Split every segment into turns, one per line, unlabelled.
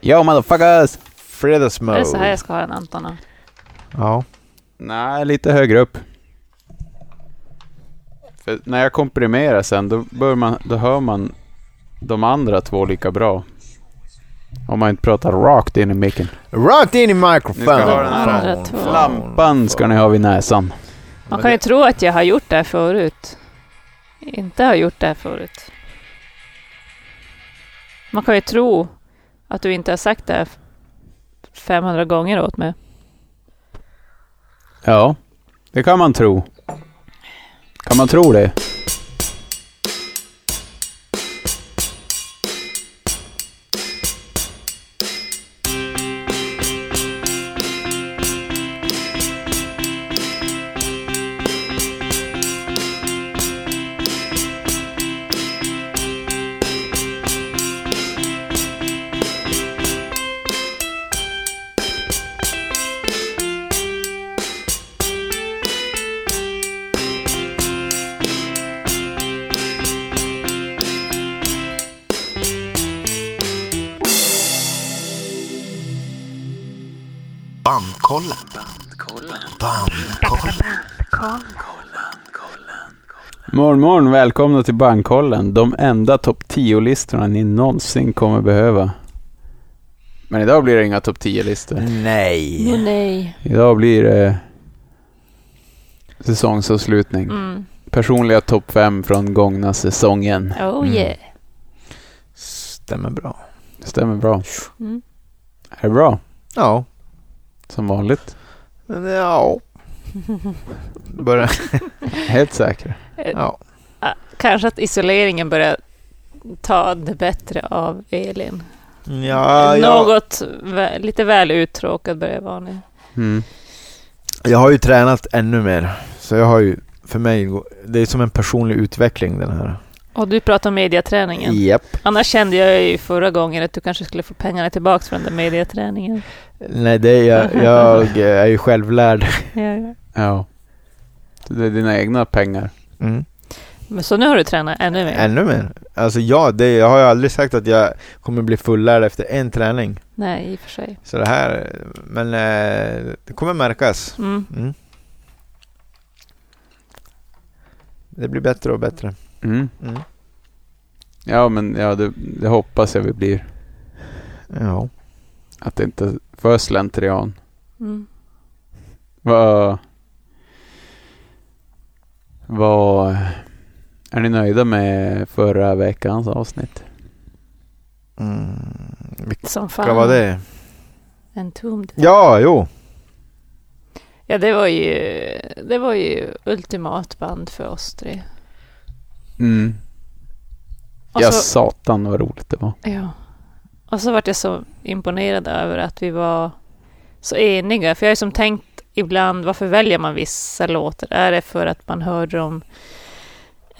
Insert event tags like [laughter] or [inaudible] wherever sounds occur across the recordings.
Yo motherfuckers!
Är Mm, det
Fredagsmode.
så här jag ska ha den Anton? då?
Ja.
Nej, lite högre upp. För när jag komprimerar sen, då, bör man, då hör man de andra två lika bra. Om man inte pratar rakt in i micken.
Rakt in i mikrofonen.
Nu ska vi ha den här.
Fan,
Två.
fan,
Lampan ska ni ha vid näsan.
Man kan ju tro att jag har gjort det här förut. Inte har gjort det här förut. Man kan ju tro att du inte har sagt det här f- 500 gånger åt mig.
Ja, det kan man tro. Kan man tro det?
Bandkollen. Bandkollen.
Morgon, morgon, välkomna till Bankkollen. De enda topp 10-listorna ni någonsin kommer behöva. Men idag blir det inga topp 10-listor.
Nej.
Åh nej.
Idag blir det säsongsavslutning.
Mm.
Personliga topp fem från gångna säsongen.
Oh yeah.
Stämmer bra.
Det stämmer bra.
Mm.
Är det bra?
Ja.
Som vanligt.
Men ja.
[laughs]
Börja.
Helt säker.
Ja.
Kanske att isoleringen börjar ta det bättre av Elin.
Ah, Ja, jag,
Något vä- lite väl uttråkad börjar jag vara nu.
Mm.
jag har ju tränat ännu mer. Så jag har ju, för mig, det är som en personlig utveckling den här.
Och du pratar om mediaträningen.
Japp.
Annars kände jag ju förra gången att du kanske skulle få pengarna tillbaka från den där mediaträningen.
Nej, det är jag,
[laughs]
jag är ju självlärd.
Ja, ja.
Ja. Det är dina egna pengar.
Mm.
Men så nu har du tränat ännu mer?
Ännu mer. Alltså ja, det, jag har ju aldrig sagt att jag kommer bli fullärd efter en träning.
Nej, i och för sig.
Så det här, men eh, det kommer märkas.
Mm.
Mm. Det blir bättre och bättre.
Mm.
Mm.
Ja, men ja, det, det hoppas jag vi blir.
Ja.
Att det inte är för slentrian.
Mm.
Vad... Vad... Är ni nöjda med förra veckans avsnitt?
Mm.
Som fan.
Vad var det?
En tomd.
Ja, jo.
Ja, det var ju, det var ju ultimat band för oss tre.
Mm.
Och
ja,
så,
satan vad roligt det var.
ja. Och så vart jag så imponerad över att vi var så eniga. För jag har ju som tänkt ibland, varför väljer man vissa låtar? Är det för att man hörde dem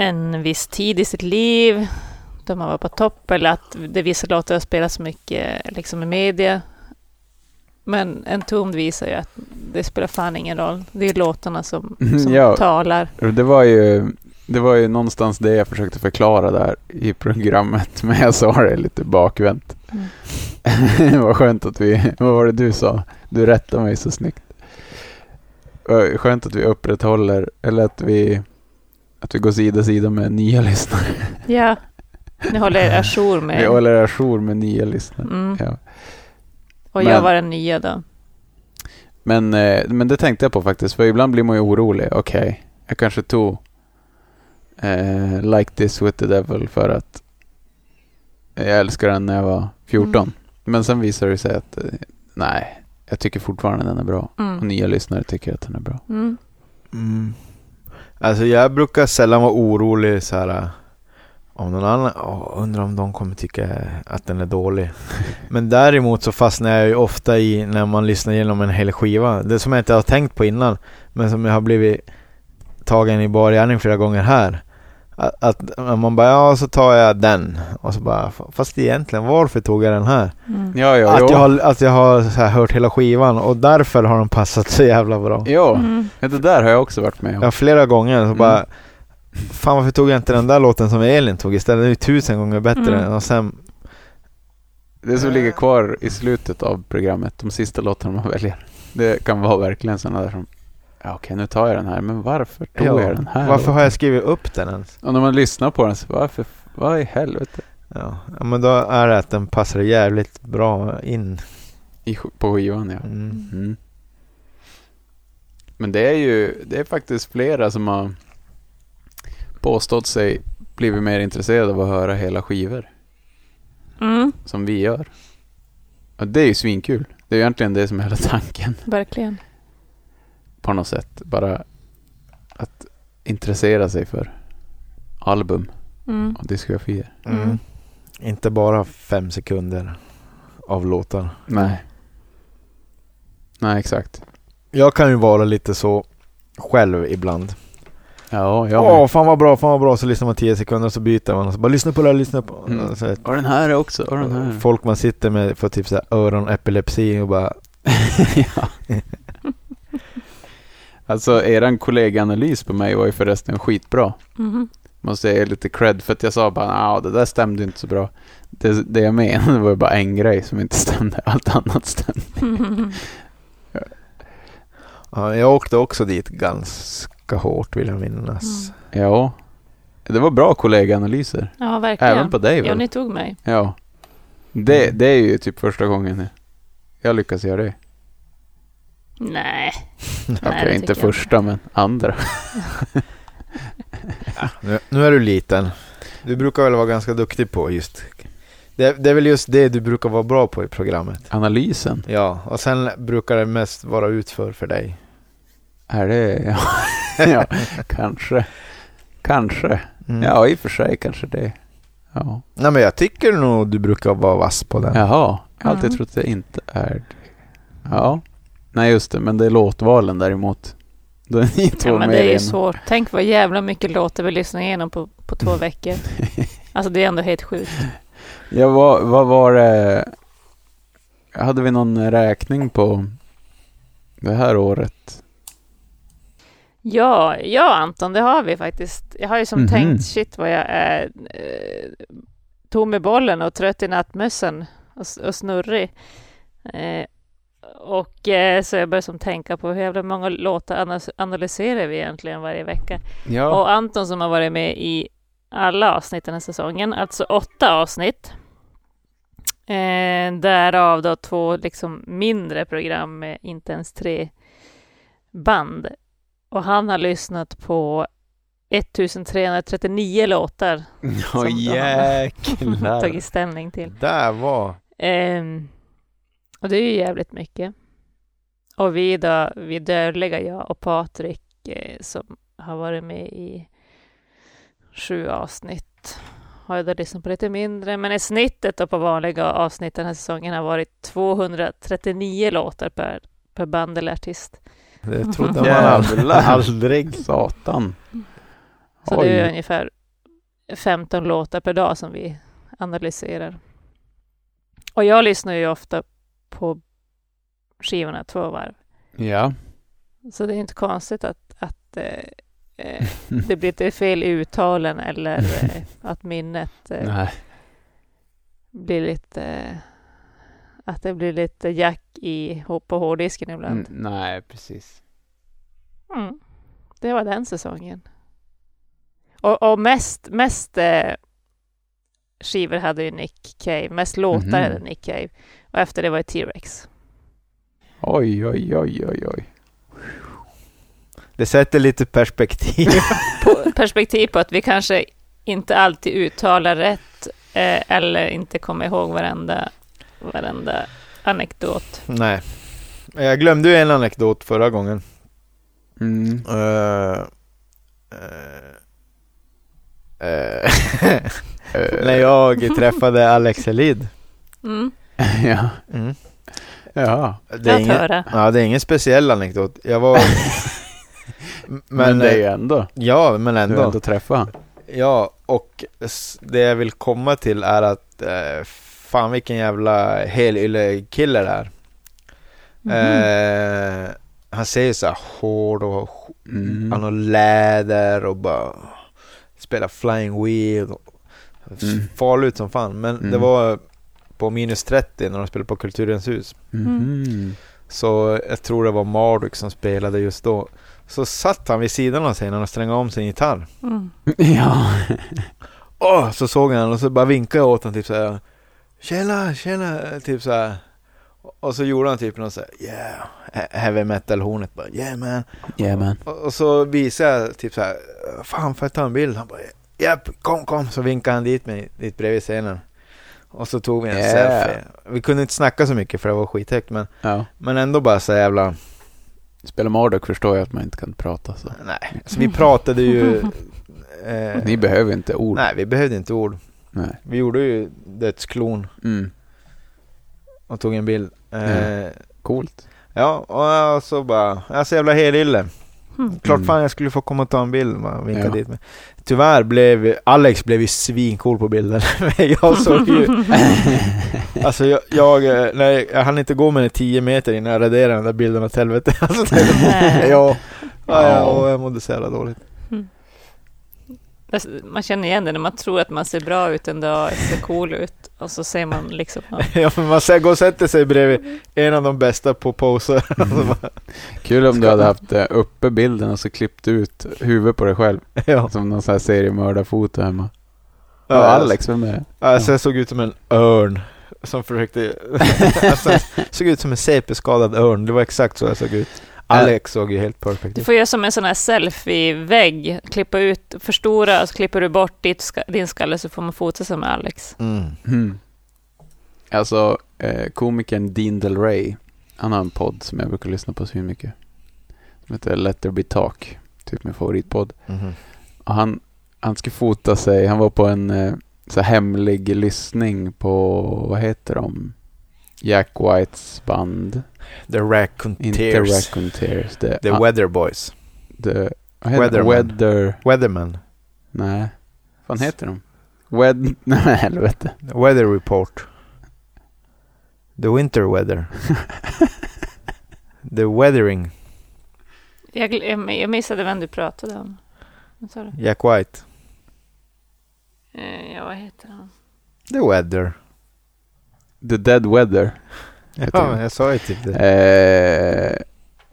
en viss tid i sitt liv? Då man var på topp eller att det vissa låtar har spelats mycket liksom, i media. Men en tomd visar ju att det spelar fan ingen roll. Det är låtarna som, som
Mm, Ja.
talar.
Det var ju, det var ju någonstans det jag försökte förklara där i programmet, [laughs] men jag sa det lite bakvänt. [laughs] vad skönt att vi, vad var det du sa? Du rättade mig så snyggt. Vad Skönt att vi upprätthåller, eller att vi, att vi går sida sida med nya lyssnare.
Ja, ni håller er ajour
Vi
med.
håller ajour med nya lyssnare.
Mm.
Ja.
Och
Men-
jag var den nya då.
Men, eh, men det tänkte jag på faktiskt, för ibland blir man ju orolig. Okej, jag kanske tog eh, Like this with the devil för att jag älskar den när jag var 14.
Mm.
Men sen visar det sig att eh, nej, jag tycker fortfarande den är bra. Och
Mm.
nya lyssnare tycker att den är bra.
Mm.
Mm. Alltså jag brukar sällan vara orolig så här. äh, Om någon annan, åh, undrar om de kommer tycka att den
[laughs]
är dålig. Men däremot så fastnar jag ju ofta i när man lyssnar igenom en hel skiva. Det som jag inte har tänkt på innan. Men som jag har blivit tagen i bar gärning flera gånger här. Att, att man bara, ja så tar jag den. Och så bara, fast egentligen varför tog jag den här?
Mm.
Ja, ja,
Att
ja.
jag har, att jag har så här hört hela skivan och därför har den passat så jävla bra.
Ja,
Mm.
ja, det där har jag också varit med om.
Ja, flera gånger. Så
Mm.
bara, fan varför tog jag inte den där låten som Elin tog istället? Den är ju tusen gånger bättre.
Mm.
Och sen
Det som ligger kvar i slutet av programmet, de sista låtarna man väljer. Det kan vara verkligen sådana där som, ja okej nu tar jag den här, men varför tog
Ja,
jag den här?
Varför har jag skrivit upp den ens?
Och när man lyssnar på den så, varför, vad i helvete?
Ja. ja, men då är det att den passar jävligt bra in.
I, sk- på skivan ja.
Mm.
Mm. Men det är ju, det är faktiskt flera som har påstått sig blivit mer intresserade av att höra hela skivor,
Mm,
som vi gör. Och det är ju svinkul. Det är ju egentligen det som är hela tanken.
verkligen.
på något sätt. Bara att intressera sig för album
Mm.
och diskografier.
Mm.
Mm.
Inte bara fem sekunder av låtar.
Nej. Nej, exakt.
Jag kan ju vara lite så själv ibland.
Ja, jag
Åh,
med.
fan vad bra, fan vad bra. Så lyssnar man 10 sekunder och så byter man. Och så bara lyssna på det här, lyssna på
Mm.
så här,
Och den här också. Och den här.
Folk man sitter med får typ så här öronepilepsi och bara
ja. Alltså, eran kollegaanalys på mig var ju förresten skitbra.
Mhm.
Måste jag ge lite cred för att jag sa bara, ja det där stämde inte så bra. Det, det jag menade var ju bara en grej som inte stämde. [laughs] Allt annat stämde.
Mhm.
ja, Jag åkte också dit ganska hårt vill jag minnas.
Mm. Ja. Det var bra kollegaanalyser.
[laughs] Ja, verkligen.
Även på dig
ja,
väl?
ni tog mig.
Ja. Det, det är ju typ första gången jag lyckas göra det. [laughs]
Nej.
Okej,
det
inte
tycker jag
första men andra.
Nu, nu är du liten. Du brukar väl vara ganska duktig på just det, det är väl just det du brukar vara bra på i programmet.
Analysen.
Ja, och sen brukar det mest vara utför för dig.
Är det... [laughs] Ja, ja kanske. Kanske.
Mm.
Ja, i och för sig kanske det. Ja.
Nej men jag tycker nog du brukar vara vass på den.
Jaha, jag har alltid
Mm.
trott det inte är det. Ja. Nej, just det. Men det är låtvalen däremot. Då är ni två
Ja, men
mer
det är ju
än-
svårt. Tänk vad jävla mycket låtar vi lyssnar igenom på, på två
[laughs]
veckor. Alltså det är ändå helt sjukt.
Ja, vad, vad var det? Hade vi någon räkning på det här året?
Ja, ja Anton, det har vi faktiskt. Jag har ju som
Mhm.
tänkt, shit vad jag är eh, tom i bollen och trött i nattmössan och, s- och snurrig. Eh, och eh, så jag började som tänka på hur jävla många låtar ana- analyserar vi egentligen varje vecka.
Ja.
Och Anton som har varit med i alla avsnitt den här säsongen, alltså åtta avsnitt. Eh, därav då två liksom mindre program med inte ens tre band. Och han har lyssnat på 1339 låtar
Åh
Som du har. [laughs]
jäklar.
tagit ställning till.
Där var...
Ehm, och det är ju jävligt mycket. Och vi då, vi dödliga, jag och Patrik eh, som har varit med i sju avsnitt har ju då lyssnat på lite mindre, men i snittet då på vanliga avsnitt den här säsongen har varit 239 låtar per, per band eller artist.
Det trodde man
Jävlar.
aldrig. aldrig.
Satan.
Så det är
Oj.
ungefär 15 låtar per dag som vi analyserar. Och jag lyssnar ju ofta på skivorna två varv.
Ja.
Så det är inte konstigt att, att eh, eh, det blir lite fel i uttalen eller eh, att minnet eh,
[laughs] Nej.
blir lite... Eh, att det blir lite jack i, på hårddisken ibland.
Mm, Nej, precis.
Mm. Det var den säsongen. Och, och mest, mest eh, skivor hade ju Nick Cave, mest låtar
Mhm.
hade Nick Cave. Och efter det var det T-Rex.
Oj, oj, oj, oj, oj.
Det sätter lite perspektiv.
[laughs]
[laughs]
På, perspektiv på att vi kanske inte alltid uttalar rätt eh, eller inte kommer ihåg varenda, varenda anekdot.
Nej. Jag glömde ju en anekdot förra gången.
Mm. [laughs]
Eh, eh, eh, När jag träffade Alex Helid.
Mm.
ja.
Mm.
ja.
Det, är
Att
ingen,
höra.
ja, det är ingen speciell anekdot. Jag var... Men, eh,
Men, det är ju ändå.
Ja, men
Du
ändå.
har ändå träffat han.
Ja, och s- det jag vill komma till är att eh, fan vilken jävla helylle-kille det är.
Mm. Mhm.
Eh, han säger så här hård och han
Mm.
har läder och bara spelar flying wheel. och s-
Mm.
Farlig ut som fan. Men det
Mm.
var på minus 30 när de spelade på Kulturens hus.
Mhm.
Så jag tror det var Marduk som spelade just då. Så satt han vid sidan av scenen och strängade om sin gitarr.
Mm.
[laughs] Ja.
Åh, så såg jag honom och så bara vinkade jag åt honom typ så här. Tjena, tjena, typ så här. Och så gjorde han typ något så här, yeah, he- heavy metal hornet bara, yeah man.
Yeah man.
Och, och så visade jag typ så här, fan får jag ta en bild? Han bara, japp, kom, kom. Så vinkade han dit mig, dit bredvid scenen. Och så tog vi en
Yeah.
selfie. Vi kunde inte snacka så mycket för det var skithögt, men,
Ja.
men ändå bara så jävla,
Spelar Marduk förstår jag att man inte kan prata så.
nej. Så vi
[laughs]
pratade ju... eh,
Ni behöver inte ord.
Nej, vi behövde inte ord.
Nej.
Vi gjorde ju dödsklon
Mm.
och tog en bild. Eh,
Coolt.
Ja, och eh, så bara, jag är så jävla helylle.
Mm.
Klart
Mm.
fan jag skulle få komma och ta en bild. Man vinkade
Ja.
dit mig. Tyvärr blev Alex blev ju svincool på bilden. [laughs] Men jag
[laughs]
såg ju... alltså jag, jag, eh, nej, jag hann inte gå med den 10 meter innan jag raderade den där bilden åt helvete. [laughs] Alltså, det,
Nej.
ja, ja, ja, och jag mådde så jävla dåligt. [laughs]
Det- Man känner igen det när man tror att man ser bra ut en dag, ser cool ut och så ser man liksom... ja.
ja, men man går och sätter sig bredvid en av de bästa på poser. [laughs] Alltså,
Mm.
bara,
Kul om du hade haft eh, uppe bilden och så klippt ut huvudet på dig själv.
ja.
Som någon sån här seriemördarfoto hemma. Ja,
Ja,
Alex, vem är det?
Alltså jag såg ut som en örn som försökte... [laughs] alltså, jag såg ut som en CP-skadad örn, det var exakt så jag såg ut. Alex såg ju helt perfekt
Du
ut.
får göra som en sån här selfie-vägg, klippa ut, förstora och så klipper du bort ditt, ska- din skalle så får man fota som Alex.
Mm.
Mm. Alltså, eh, komikern Dean Del Rey, han har en podd som jag brukar lyssna på så mycket. Som heter Let There Be Talk, typ min favoritpodd.
Mhm.
Och han, han skulle fota sig, han var på en eh, så här hemlig lyssning på, vad heter de? Jack Whites band.
The Raccoon
Inte
Tears.
Raccoon Tears. Det,
The
ah,
Weather Boys.
the, vad heter de?
Weatherman.
Weather.
Weatherman.
Nej. Vad fan heter de? Wed... [laughs] Nej, helvete.
The Weather Report. The Winter [laughs] Weather. The Weathering.
Jag, gl- jag- jag missade vem du pratade om. Vad sa du?
Jack White.
Eh, Ja, vad heter han?
The Weather.
The Dead Weather. Heter
Ja,
det.
jag sa ju typ det.
Eh,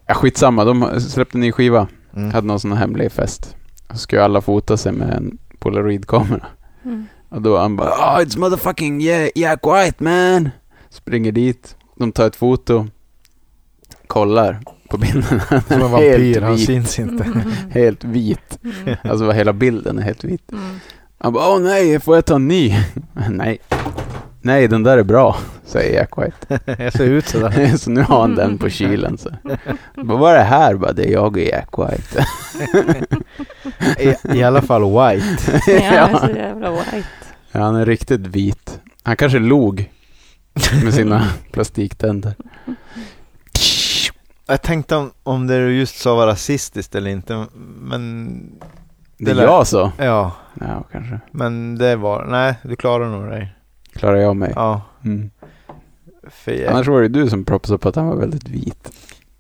ja, skitsamma, de släppte en ny skiva.
Mm.
Hade någon sån här hemlig fest. Och så skulle alla fota sig med en polaroidkamera.
Mm.
Och då han bara oh, it's motherfucking yeah, Jack White man. Springer dit, de tar ett foto, kollar på bilden. [laughs]
Som [laughs] en
Helt
vampyr, han
vit.
syns inte.
Helt vit.
Mm.
Alltså hela bilden är helt vit. [laughs]
Mm.
Han bara åh nej, får jag ta en ny? [laughs] nej. Nej, den där är bra, [laughs] säger Jack White.
[laughs]
[laughs]
jag ser ut sådär.
så nu har han den på kylen. Så. Vad var det här? Bara, det är jag och Jack White.
I, I alla fall White.
Ja, så jävla white.
Ja, han är riktigt vit. Han kanske log med sina [laughs] plastiktänder.
Jag tänkte om, om det du just sa var rasistiskt eller inte, men
Det
Det
är
lät-
jag så.
ja,
Ja, kanske.
men det var, nej, du klarar nog dig.
Klarar jag mig.
Ja,
Mm.
för jag,
Annars var det du som propsade på att han var väldigt vit.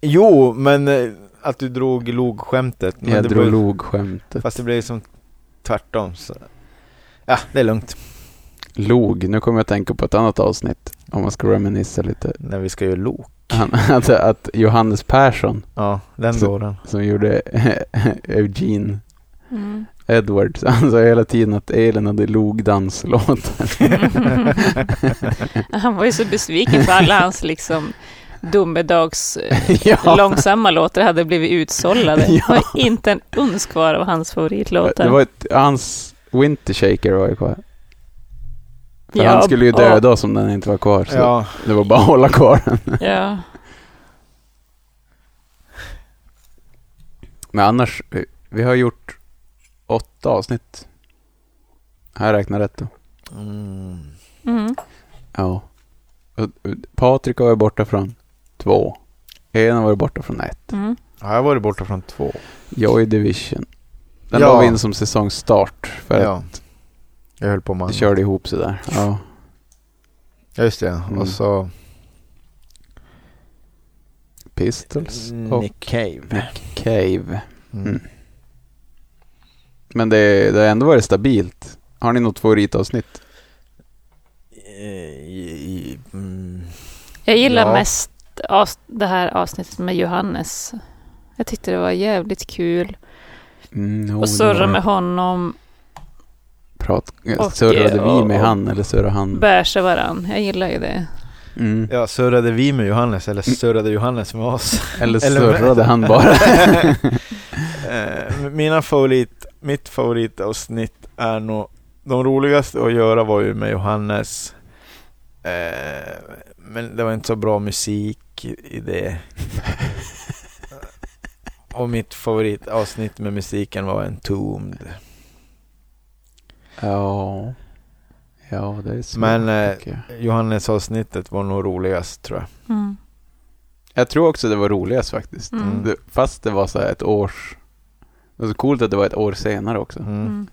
Jo, men eh, att du drog logskämtet. Men
jag
det
drog
blev-
log-skämtet.
Fast det blev som tvärtom. Så. Ja, det är lugnt.
Log, nu kommer jag att tänka på ett annat avsnitt. Om man ska reminissa lite.
När vi ska göra log.
Han, [laughs] att, att Johannes Persson,
Ja, den
Så-
dåren.
som gjorde [laughs] Eugene
Mm. [laughs]
Edwards, [laughs] han sa hela tiden att Elin hade
[laughs]
logdanslåt.
Han var ju så besviken för alla hans liksom domedags eh,
[laughs] ja,
långsamma låtar hade blivit utsållade.
[laughs] Ja.
Det var inte en uns kvar av hans favoritlåtar.
det var ett, hans Winter Shaker var ju kvar. För
Ja,
han skulle ju
och-
döda oss om den inte var kvar, så
Ja,
det var bara att hålla kvar den.
Ja.
Men annars, eh, vi har gjort åtta avsnitt. Har jag räknat rätt då?
mm,
Mm.
Ja. Och- och Patrik har varit borta från två. Elin har varit borta från ett.
Mm.
ja, jag har varit borta från två.
Joy Division. Den
Ja.
la vi in som säsongstart för
Ja. Jag höll på med
att vi
andra.
körde ihop sådär. Ja.
Ja, just det.
Mm.
Och så
Pistols och
Nick Cave.
Nick Cave.
Mm.
Men det, det har ändå varit stabilt. Har ni något favoritavsnitt?
Eh,
Jag gillar
Ja.
mest avs- det här avsnittet med Johannes. Jag tyckte det var jävligt kul.
Mm, jo,
och
det var-
surra med honom,
Prat,
Och,
surrade
eh,
vi med
och-
han eller surrade han?
bärsa varann. Jag gillar ju det.
Mm.
Ja, surrade vi med Johannes eller surrade Johannes med oss?
Eller
eller-
surrade han bara? [laughs]
Eh, [laughs] Mina favorit, mitt favoritavsnitt är nog de roligaste att göra var ju med Johannes. Eh, Men det var inte så bra musik i- i
[laughs]
det. Och mitt favoritavsnitt med musiken var Entombed.
ja. ja, det är svårt.
Men eh,
tycker jag.
Johannes-avsnittet var nog roligast tror jag.
Mm.
jag tror också det var roligast faktiskt.
Mm.
Det, fast det var så här ett års... Det var så coolt att det var ett år senare också.
Mm.
Mm.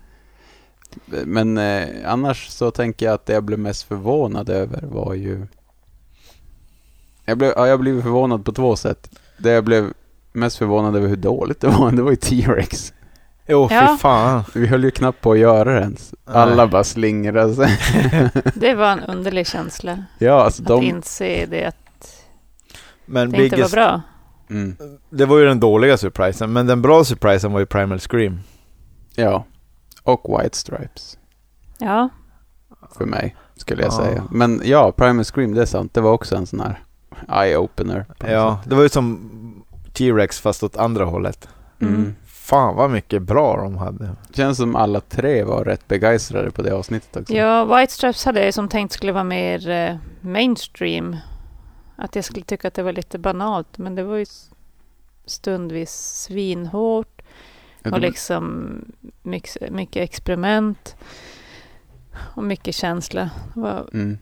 Men eh, annars så tänker jag att det jag blev mest förvånad över var ju... Jag blev, ja, jag blev förvånad på två sätt. Det jag blev mest förvånad över hur dåligt det var, [laughs] det var ju T-Rex.
Jo, fy
Ja.
fan.
Vi höll ju knappt på att göra det ens. Alla
Nej.
bara slingrade sig. [laughs]
Det var en underlig känsla.
Ja, alltså
Att
de...
inse det, att
Men
det inte var
biggest,
bra.
Mm,
det var ju den dåliga surprisen. Men den bra surprisen var ju Primal Scream.
ja. Och White Stripes,
Ja,
för mig, skulle jag
Ja.
säga. Men ja, Primal Scream, det är sant. Det var också en sån här eye-opener. på något
Ja,
sätt.
det var ju som T-Rex fast åt andra hållet.
Mm.
Fan vad mycket bra de hade.
Känns som alla tre var rätt begeistrade på det avsnittet också.
ja White Stripes hade jag ju som tänkt skulle vara mer eh, mainstream. Att jag skulle tycka att det var lite banalt, men det var ju s- stundvis svinhårt.
Ja,
Och
det-
liksom mycket, mycket experiment och mycket känsla. Det var
Mm.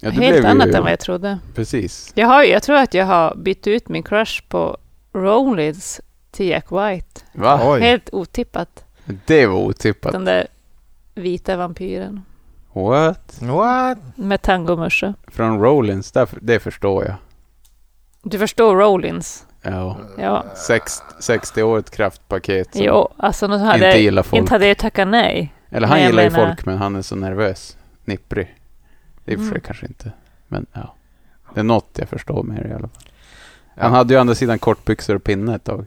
Ja, det
helt
blev
annat
ju,
än vad jag trodde.
Precis.
Jag, har, ju- jag tror att jag har bytt ut min crush på Rollins till Jack White.
Va?
Oj.
Helt otippat.
Det var otippat.
Den där vita vampyren
What?
What?
med tangomössa.
Från Rollins, där, det förstår jag.
Du förstår Rollins?
Ja.
Äh.
Ja.
Sext, 60 år ett kraftpaket som
Jo, alltså nu
inte
hade, inte,
gillar folk.
inte hade jag tackat nej.
Eller han
Nej, jag
gillar ju
menar-
folk men han är så nervös. Nipprig. Det är i och för sig
Mm.
kanske inte. Men ja. Det är något jag förstår mer i alla fall. Han hade ju å andra sidan kortbyxor och pinne ett tag.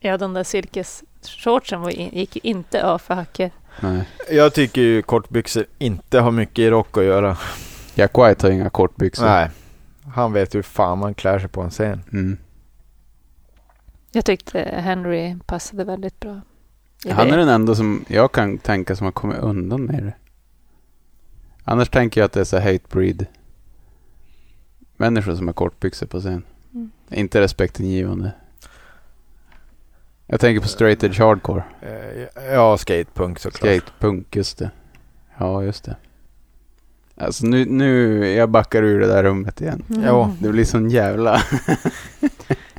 Ja, den där silkesshortsen var in- gick ju inte av för hacket.
Nej.
Jag tycker ju kortbyxor inte har mycket i rock att göra.
Jack White har inga kortbyxor.
Nej. Han vet hur fan man klär sig på en scen.
Mm.
Jag tyckte Henry passade väldigt bra. i
Han
det.
är den enda som jag kan tänka som har kommit undan med det. Annars tänker jag att det är så här hate breed. Människor som har kortbyxor på scen.
Mm.
Inte respektingivande. Jag tänker på straight edge hardcore.
Eh, Ja, skatepunk såklart.
Skatepunk, just det. Ja, just det. Alltså nu, nu, jag backar ur det där rummet igen.
Mm.
Ja.
Det blir sån jävla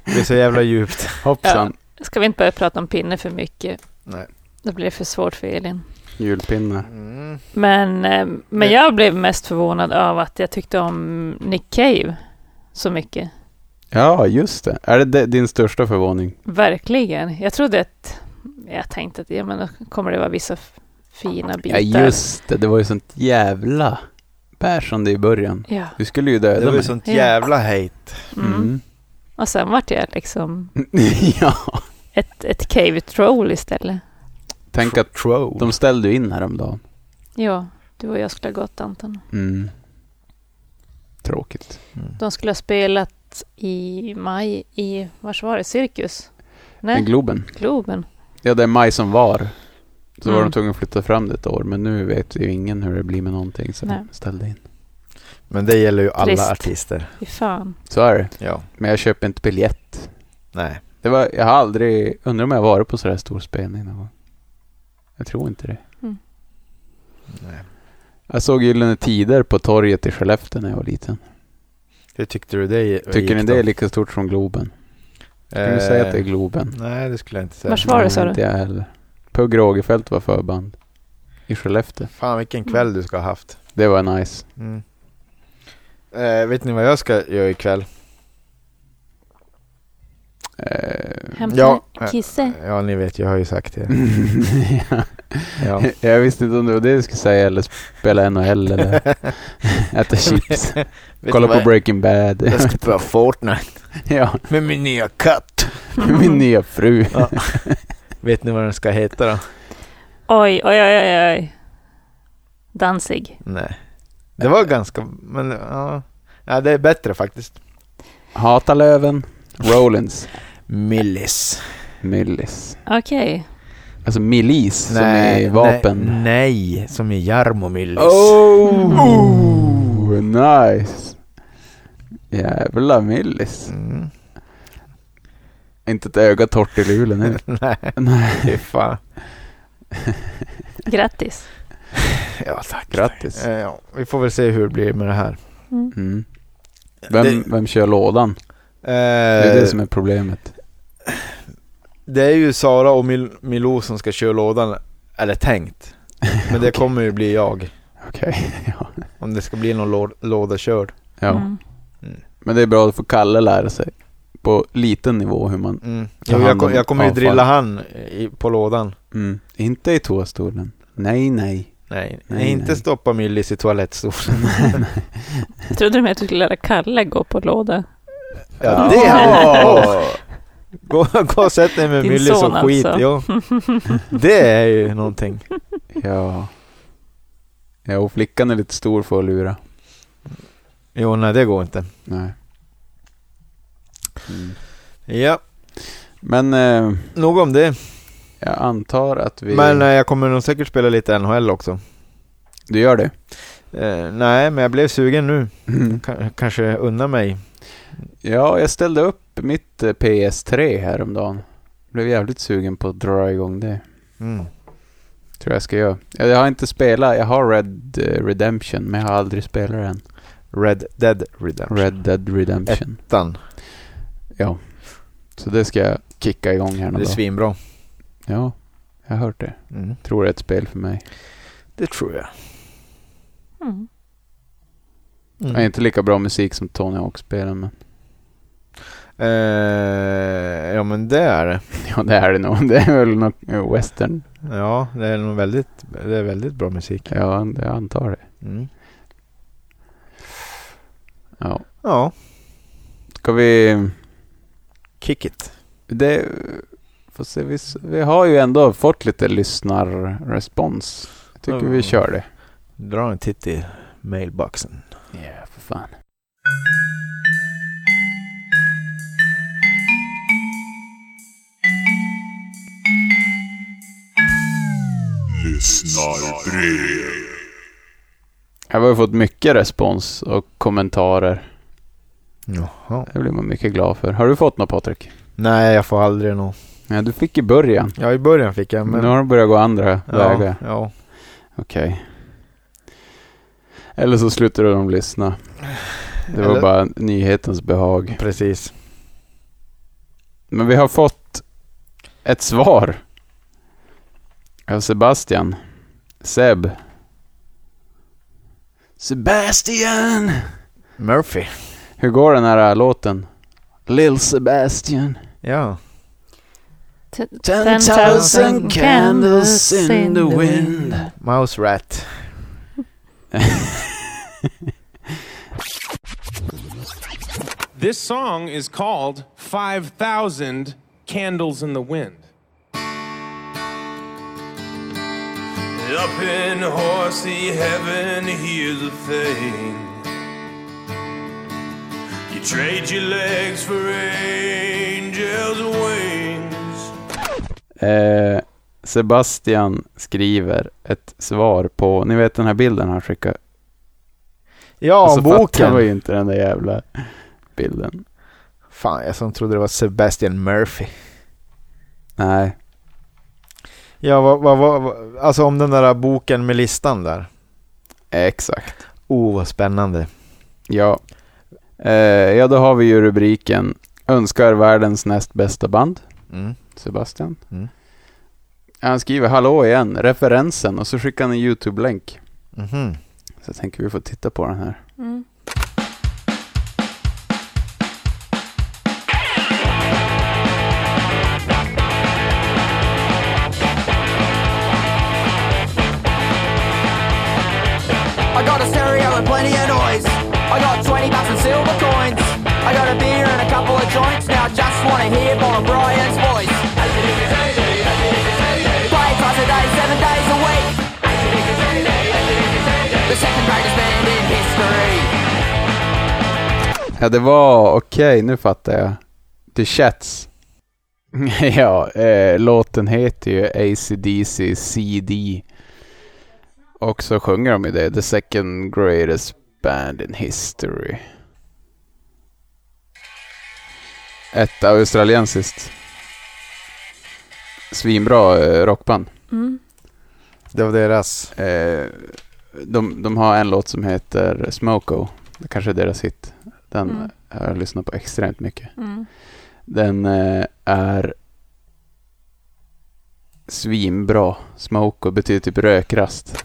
Det är så jävla djupt.
[laughs] hoppsan.
Ska vi inte börja prata om pinne för mycket?
Nej.
Då blir det för svårt för Elin.
Julpinnar.
Mm.
Men, eh, men
Nej.
jag blev mest förvånad av att jag tyckte om Nick Cave så mycket.
Ja, just det. Är det de- din största förvåning?
Verkligen. Jag trodde att... Jag tänkte att ja, men då kommer det vara vissa f- fina bitar.
Ja, just det. Det var ju sånt jävla bärsande i början.
Ja.
Du skulle ju döda
Det var ju
mig.
sånt
Ja.
jävla hate.
Mm.
Mm.
Och sen vart jag liksom
[laughs] ja.
ett, ett cave-troll istället.
Tänk att
Troll.
de ställde ju in häromdagen.
Ja, du och jag skulle ha gått Anton.
Mm. Tråkigt.
Mm.
De skulle ha spelat i maj i, vars var det, Cirkus?
Men
Nej,
Globen.
Globen.
Ja, det är maj som var. Så var
Mm.
de tvungna att flytta fram det ett år. Men nu vet ju ingen hur det blir med någonting. Så
Nej.
de ställde in.
Men det gäller ju alla
Trist.
artister.
Fy fan.
Så är det.
Ja.
Men jag köper inte biljett.
Nej.
Det var, jag har aldrig... Undrar om jag har varit på sådär stor spelning någon gång. Jag tror inte det.
Mm.
Nej.
Jag såg Gyllene Tider på torget i Skellefteå när jag var liten.
Hur tyckte du det gick
Tycker ni
då?
det är lika stort som Globen? Skulle du säga att det är
Eh,
Globen?
Nej, det skulle jag inte säga.
Vars var det sa
Nej,
du?
Inte jag heller. Pugh Rogefeldt var förband i Skellefteå.
Fan vilken kväll du ska ha haft.
Det var nice.
Mm. Eh, vet ni vad jag ska göra ikväll?
Eh,
Hämta
Ja.
[laughs] Kisse.
Ja, ni vet, jag har ju sagt det.
[laughs] ja.
[laughs] Ja.
Jag visste inte om det var det du skulle säga eller spela NHL
[laughs]
eller äta chips.
Vet
Kolla
ni vad
på Breaking Bad.
Jag ska spela Fortnite
[laughs] ja,
med min nya katt.
min nya fru.
Ja. Vet ni vad den ska heta då?
Oj, oj, oj, oj, oj. Danzig.
Nej. Det var ganska, men ja. ja det är bättre faktiskt.
Hata Löven, Rollins,
Millis.
Millis.
Okej.
Alltså milis som är vapen.
Nej, nej, som i Jarmo Millis.
Oh!
Oh!
Nice! Jävla millis.
Mm.
Inte ett öga torrt i lulen nu.
[laughs] [laughs] Nej,
Nej.
fy fan.
Grattis.
Ja, tack.
Grattis.
Eh, Ja, vi får väl se hur det blir med det här.
Mm. Vem, vem kör lådan? Det
Eh,
är det som är problemet.
Det är ju Sara och Mil- Milou som ska köra lådan, eller tänkt.
[laughs]
Men det kommer ju bli jag.
Okej, [laughs] ja.
Om det ska bli någon lå- låda körd.
ja.
Mm.
Men det är bra att få Kalle lära sig på liten nivå hur man...
Mm.
Ta
Jo, jag,
hand
kom,
om
jag kommer ju
avfall.
drilla han i, på lådan.
Mm. Inte i toastolen. Nej, nej.
Nej,
Nej,
inte
nej.
stoppa Millis i
[laughs]
[laughs] toalettstolen.
Trodde du med att du skulle lära Kalle gå på låda?
Ja, det hade
Åh!
Gå, gå och sätt dig med
Din
Millis
son
och skit.
alltså. [laughs]
Ja. Det är ju någonting.
Ja. Ja, och flickan är lite stor för att lura.
Jo, nej det går inte.
Nej. Mm.
Ja,
Men eh,
nog om det.
jag antar att vi...
Men eh, jag kommer nog säkert spela lite NHL också.
Du gör det?
Eh, nej, men jag blev sugen nu. K- kanske unna mig.
Ja, jag ställde upp mitt eh, PS3 häromdagen. Blev jävligt sugen på att dra igång det.
Mm.
Tror jag ska göra. Ja, Jag har inte spelat, jag har Red eh, Redemption, men jag har aldrig spelat den.
Red Dead Redemption.
Red Dead Redemption.
Ettan.
Ja. Så det ska jag kicka igång här någon
Det är
dag.
svinbra.
Ja, jag har hört det.
Mm.
Tror det är ett spel för mig.
Det tror jag.
Mm.
Mm.
Jag har inte lika bra musik som Tony Hawk-spelen, men [laughs]
Eh, ja men det är det.
ja, det är det nog. [laughs] Det är väl något eh, western.
Ja, det är nog väldigt, det är väldigt bra musik.
Ja, jag antar det.
Mm.
Ja.
Ja,
Ska vi...
kick it.
Det, får se, vi, s- vi har ju ändå fått lite lyssnarrespons. Jag tycker
Mm.
vi kör det.
Dra en titt i mailboxen.
Ja, för fan.
Lyssnarbrev.
Jag har ju fått mycket respons och kommentarer.
Jaha.
Det blir man mycket glad för. Har du fått något Patrik?
Nej, jag får aldrig nå.
Ja, du fick i början.
Ja, i början fick jag, men...
Nu har de börjat gå andra
ja,
vägar.
ja.
Okej. Eller så slutade de lyssna. Det var
Eller-
bara nyhetens behag.
Precis.
Men vi har fått ett svar. Av Sebastian. Seb. Sebastian!
Murphy.
Hur går den här låten? Lil Sebastian.
Ja.
T-
10,000 candles in the wind.
Mouse Rat.
This song is called 5,000 Candles in the Wind.
Up in horsey heaven, here's the thing. You trade your legs for angels' wings.
Eh, Sebastian skriver ett svar på, ni vet den här bilden han skickade?
Ja,
fattar
boken.
man ju inte den där jävla bilden.
Fan, jag som trodde det var Sebastian Murphy.
Nej,
Ja, vad, vad, vad, vad- alltså om den där boken med listan där.
exakt.
Oh, vad spännande.
Ja. Eh, ja, då har vi ju rubriken Önskar världens näst bästa band,
Mm.
Sebastian.
Mm.
Han skriver hallå igen, referensen och så skickar han en YouTube-länk.
Mhm.
Så jag tänker vi får titta på den här.
Mm.
It's
I hear Bob Ryan's voice. Five times a day, seven days a week. The second greatest band in history.
Ja, det var okej, nu fattar jag. The Chats. [laughs] ja, eh, låten heter ju ACDC CD. Och så sjunger de ju det, The second greatest band in history. Ett australiensiskt. Svinbra eh, rockband.
mm,
Det var deras.
Eh, de, de har en låt som heter Smoko. Det kanske är deras hit. Den
Mm.
har jag lyssnat på extremt mycket.
Mm.
Den eh, är svinbra. Smoko betyder typ rökrast.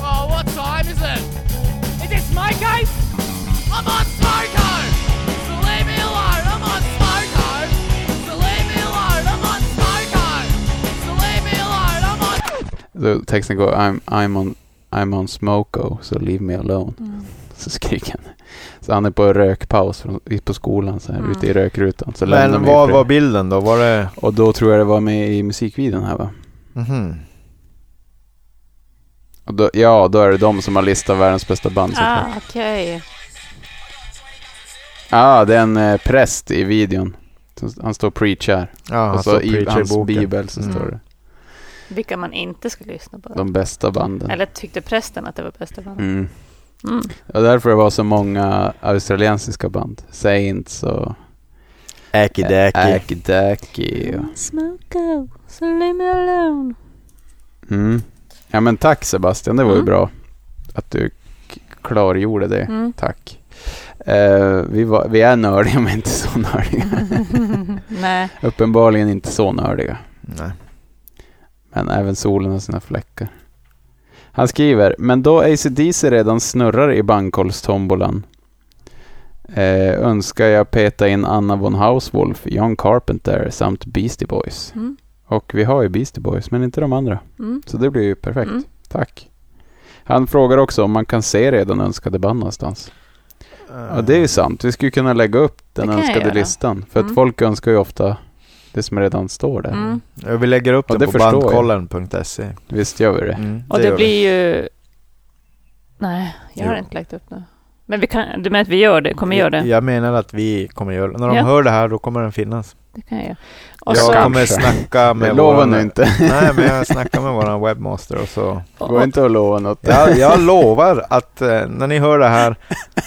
Oh, what time is it? Is it Smoko? I'm on Smoko! So leave me alone, I'm on Smoko! So leave me alone, I'm on Smoko! So leave me alone, I'm on...
Då texten går I'm, I'm, on, I'm on Smoko, so leave me alone.
Mm.
Så skriker han. Så han är på rökpaus från, i- på skolan, så här,
Mm.
ute i rökrutan. Så lämnar
Men
mig i
vad
fred.
var bilden då? Var det...
Och då tror jag det var med i musikvideon här va?
Mhm.
Och då, ja, då är det de som har listat världens bästa band. såklart.
Ah, okej.
Ja, ah, det är en eh, präst i videon. Så Han står och preachar.
Ja, han
och så
står och
i
preachar i
hans
boken.
bibel så
Mm.
står det
Vilka man inte ska lyssna på.
de bästa banden.
Eller tyckte prästen att det var bästa bandet?
Mm.
Mm.
Och därför det var så många australiensiska band. Saints och eh,
Äki däki.
Akidaki. Och...
Smoko, so leave me alone.
Mm. Ja men tack Sebastian, det var ju
Mm.
bra att du k- klargjorde det.
Mm.
Tack. Eh, vi, var, vi är nördiga men inte så nördiga.
Nej,
Uppenbarligen inte så nördiga.
Nej.
Men även solen har sina fläckar. Han skriver, men då ACDC redan snurrar i bankkolstombolan eh, önskar jag peta in Anna von Hauswolf, John Carpenter samt Beastie Boys.
Mm.
Och vi har ju Beastie Boys, men inte de andra.
mm.
Så det blir ju perfekt.
Mm.
Tack. Han frågar också om man kan se redan önskade band någonstans. Ja, det är ju sant. Vi skulle kunna lägga upp den
Det kan jag
önskade
göra.
listan. För att
Mm.
folk önskar ju ofta det som redan står där.
Mm.
Ja, Vi lägger upp
Ja,
den
det
på
förstår jag.
bandkollen.se.
Visst gör vi det?
Mm,
Och det,
gör vi.
blir ju... Nej, jag har
Jo.
inte lagt upp nu. Men vi kan, du menar att vi gör det, kommer göra det?
Jag menar att vi kommer göra det. När de
Ja.
hör det här då kommer den finnas.
Det kan jag göra. Och
Jag
så,
kommer snacka med
Jag lovar
våran-
nu [laughs] inte.
Nej, men jag snackar med våran webbmaster och så.
och,
Gå
och,
inte och lova något. [laughs]
Jag, jag [laughs] lovar att eh, när ni hör det här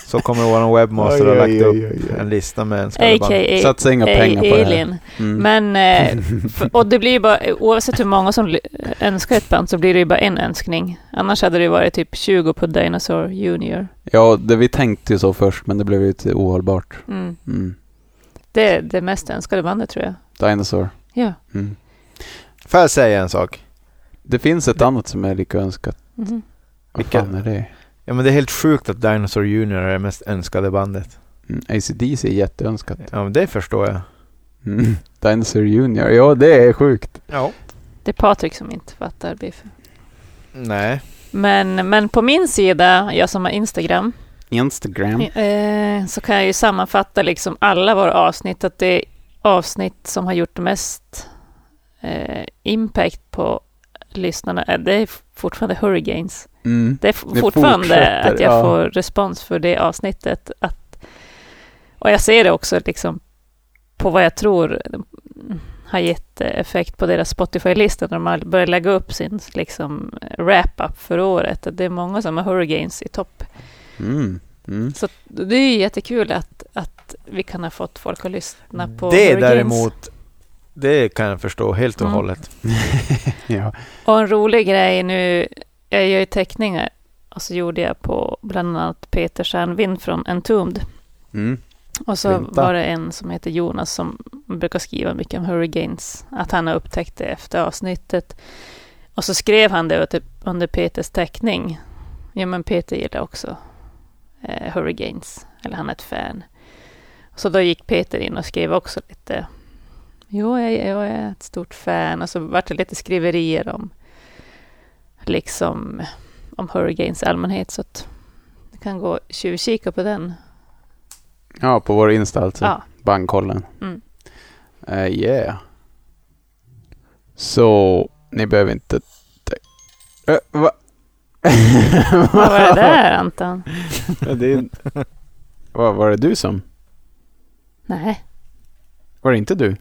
så kommer våran webbmaster
Oj,
ha
oj,
lagt upp
oj, oj, oj.
en lista med önskade band.
a.k.a.
Satsa inga pengar på det här.
Alien.
Mm.
E- Men,
[laughs]
eh, för, och det blir ju bara, oavsett hur många som l- önskar ett band så blir det ju bara en önskning. Annars hade det varit typ 20 på Dinosaur Junior.
Ja, det, vi tänkte ju så först, men det blev ju lite ohållbart.
Mm.
Mm.
Det är det mest önskade bandet tror jag.
Dinosaur.
Ja.
Mm.
Får jag säga en sak?
Det finns ett annat som är lika önskat.
Mhm.
Vad
Vilka?
fan är det?
Ja, men det är helt sjukt att Dinosaur Junior är det mest önskade bandet.
Mm. ACDC är jätteönskat.
Ja, men det förstår jag.
Mm. Dinosaur Junior, ja det är sjukt.
Ja.
Det är Patrik som inte fattar biff.
Nej.
Men, men på min sida, jag som har Instagram,
Instagram. Mm.
eh, så kan jag ju sammanfatta liksom alla våra avsnitt, att det är avsnitt som har gjort mest eh, impact på lyssnarna, Eh, det är fortfarande Hurricanes.
Mm.
Det är f-
Det
fortfarande
fortsätter,
att jag
ja.
får respons för det avsnittet. Att, och jag ser det också liksom på vad jag tror har gett eh, effekt på deras Spotify-lista när de har börjat lägga upp sin liksom, wrap-up för året. Att det är många som har Hurricanes i topp.
Mm. Mm.
Så att det är ju jättekul att, att vi kan ha fått folk att lyssna på
Mm. det
Hurricanes.
däremot, det kan jag förstå helt och
Mm.
hållet.
Ja.
Och en rolig grej nu, jag gör ju teckningar och så gjorde jag på bland annat Peter Stjernvind från Entombed.
Mm.
Och så
Flinta.
var det en som heter Jonas som brukar skriva mycket om Hurricanes, att han har upptäckt det efter avsnittet. Och så skrev han det typ under Peters teckning. Ja, men Peter gillar också eh, Hurricanes, eller han är ett fan. Så då gick Peter in och skrev också lite, jo, jag, jag är ett stort fan. Och så vart det lite skriverier om, liksom, om Hurricanes i allmänhet. Så att du kan gå och tjuvkika på den
Ja, på vår Insta alltså.
Ja.
Bandkollen.
Mm.
Eh, yeah. Så ni behöver inte... Te- Eh, va?
Vad var det [laughs] där Anton?
Ja, det är... Vad var det du som?
Nej.
Var det inte du?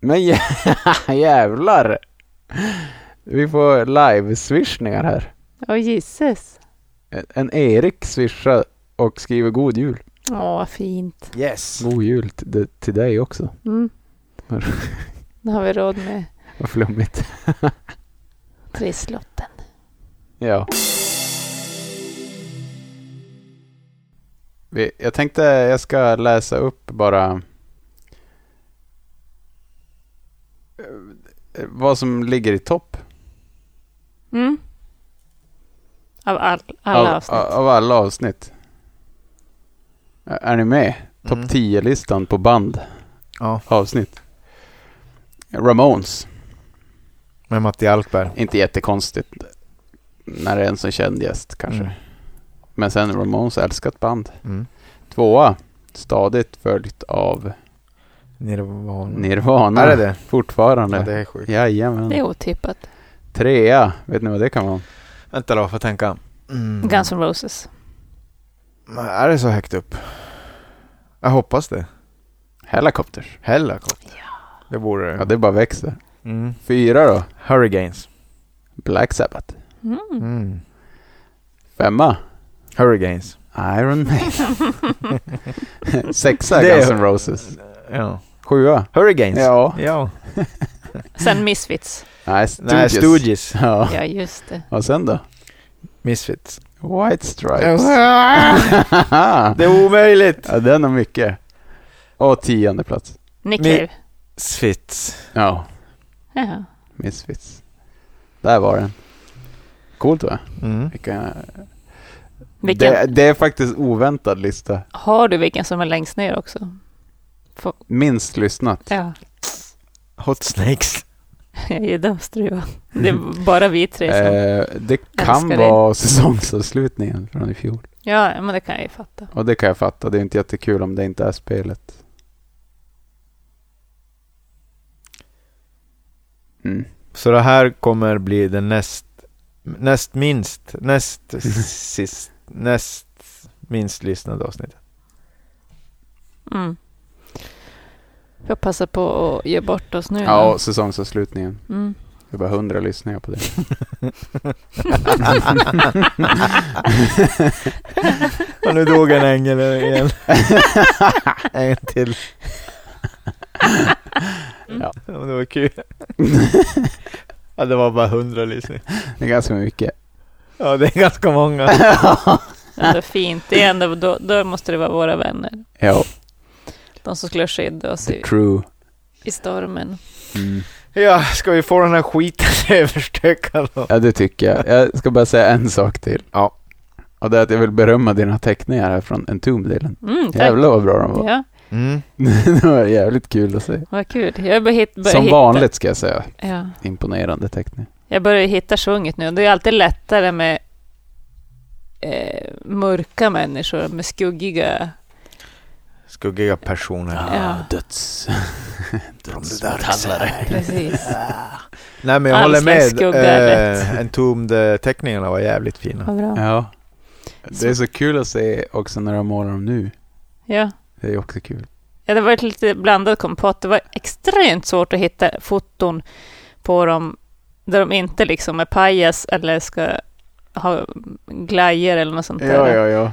Men jä- [laughs] jävlar! Vi får live-swishningar här.
Åh oh, Jesus.
En- En Erik swishar och skriver god jul.
Åh, vad fint.
Yes.
God jul till, till dig också.
Mm.
Var-
Då har vi råd med
Vad flummigt.
trisslotten.
Ja. Vi- Jag tänkte jag ska läsa upp bara eh, vad som ligger i topp
Mm. Av all, alla
av,
avsnitt.
av alla avsnitt. Ä- Är ni med? Topp
Mm.
10-listan på band
Ja,
avsnitt. Ramones.
med Matti Alkberg.
Inte jättekonstigt när det är en så känd gäst kanske.
Mm.
Men sen Ramones älskat band.
Mm.
Tvåa, stadigt följt av
Nirvana.
Nirvana.
Är det det?
Fortfarande.
Ja, det är sjukt.
Jajamän.
Det är otippat.
Trea, vet ni vad det kan vara?
Vänta då, får jag tänka. Mm.
Guns N' Roses.
Är det så högt upp? Jag hoppas det.
Helicopters.
Hellacopter. Ja. Det borde det.
Ja, det bara växer.
Mm.
Fyra då,
Hurricanes.
Black Sabbath.
Mm.
Mm.
Femma,
Hurricanes.
Iron
[laughs]
Maiden. Sexa,
Det är-
Guns N' Roses.
Ja.
Sjua.
Hurricanes.
Ja.
ja.
Sen Misfits.
Nej,
Nej,
Stooges.
Stooges.
Ja.
Ja, just det.
Och sen då?
Misfits.
White Stripes. [laughs]
[laughs] det är omöjligt.
ja, den har mycket. Och tionde plats.
Nick
Mi-
Cave.
Misfits.
Ja,
Jaha.
Misfits. Där var den. Coolt va?
Mm.
Vilka...
Vilken,
Det, det är faktiskt oväntad lista.
Har du vilken som är längst ner också?
Minst lyssnat.
Ja,
Hot Snakes.
[laughs] jag är dumstruva. Det är bara vi tre som...
Eh, det kan
Älskar det.
vara säsongsavslutningen från i fjol.
Ja, men det kan jag ju fatta.
Och det kan jag fatta. Det är inte jättekul om det inte är spelet. Mm.
Så det här kommer bli den näst, näst minst, näst sist, näst minst lyssnade avsnittet.
Mm. Får passa på att ge bort oss nu.
Ja,
då.
och säsongsavslutningen.
Mm.
Det är bara hundra lyssningar på det. [laughs]
Och nu dog en ängel igen. [laughs] en till.
Ja.
Ja, men det var kul. Ja, det var bara hundra lyssningar.
Det är ganska mycket.
Ja, det är ganska många.
[laughs] Ändå fint. Det är ändå, då, då måste det vara våra vänner.
Ja,
De som skulle skydda oss i,
true.
i stormen.
Mm.
Ja, ska vi få den här skiten [laughs] överstökad då?
Ja, det tycker jag. Jag ska bara säga en sak till.
Ja.
Och det är att jag vill berömma dina teckningar här från Entombed-delen.
Mm, tack.
Jävlar vad bra de var.
Ja,
Mm.
[laughs] det var jävligt kul att se.
vad kul. Jag börjar hit, börjar
Som
hitta,
vanligt ska jag säga.
Ja.
Imponerande teckning.
Jag börjar hitta sjunget nu. Det är alltid lättare med eh, mörka människor, med skuggiga...
[laughs]
Skuggiga personer.
Ja,
[laughs] Döds...
precis.
Nej, men jag
All
håller
slags
med.
skugga är
Eh, Entombed-teckningarna var jävligt fina.
Vad bra.
Ja. Det är så kul att se också när de målar dem nu.
Ja.
Det är också kul.
ja, det var ett lite blandad kompott. Det var extremt svårt att hitta foton på dem där de inte liksom är pajas eller ska ha glajjor eller något sånt där.
ja.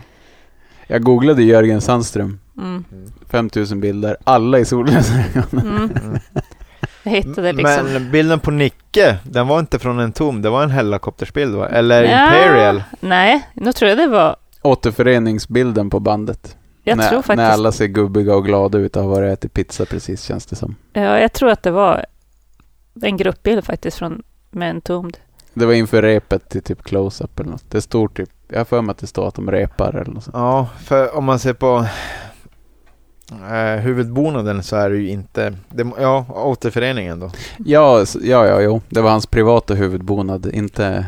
Jag googlade Jörgen Sandström.
Mm.
5000 bilder, alla i solglasögon.
Mm. [laughs]
Mm.
Jag hittade liksom...
Men bilden på Nicke, den var inte från en tom, det var en helikoptersbild va? Eller
Ja.
eh, Imperial?
Nej, nu tror jag det var...
[laughs] Återföreningsbilden på bandet.
Jag
när,
tror faktiskt...
när alla ser gubbiga och glada ut och har varit och ätit pizza precis känns det som.
Ja, jag tror att det var en gruppbild faktiskt från med en tomd.
Det var inför repet till typ close-up eller något. Det står typ, jag har för mig att det står att de repar eller något sånt.
Ja, för om man ser på eh, huvudbonaden så är det ju inte, det, må- ja, återföreningen då.
Ja, s- ja, ja, jo. Det var hans privata huvudbonad, inte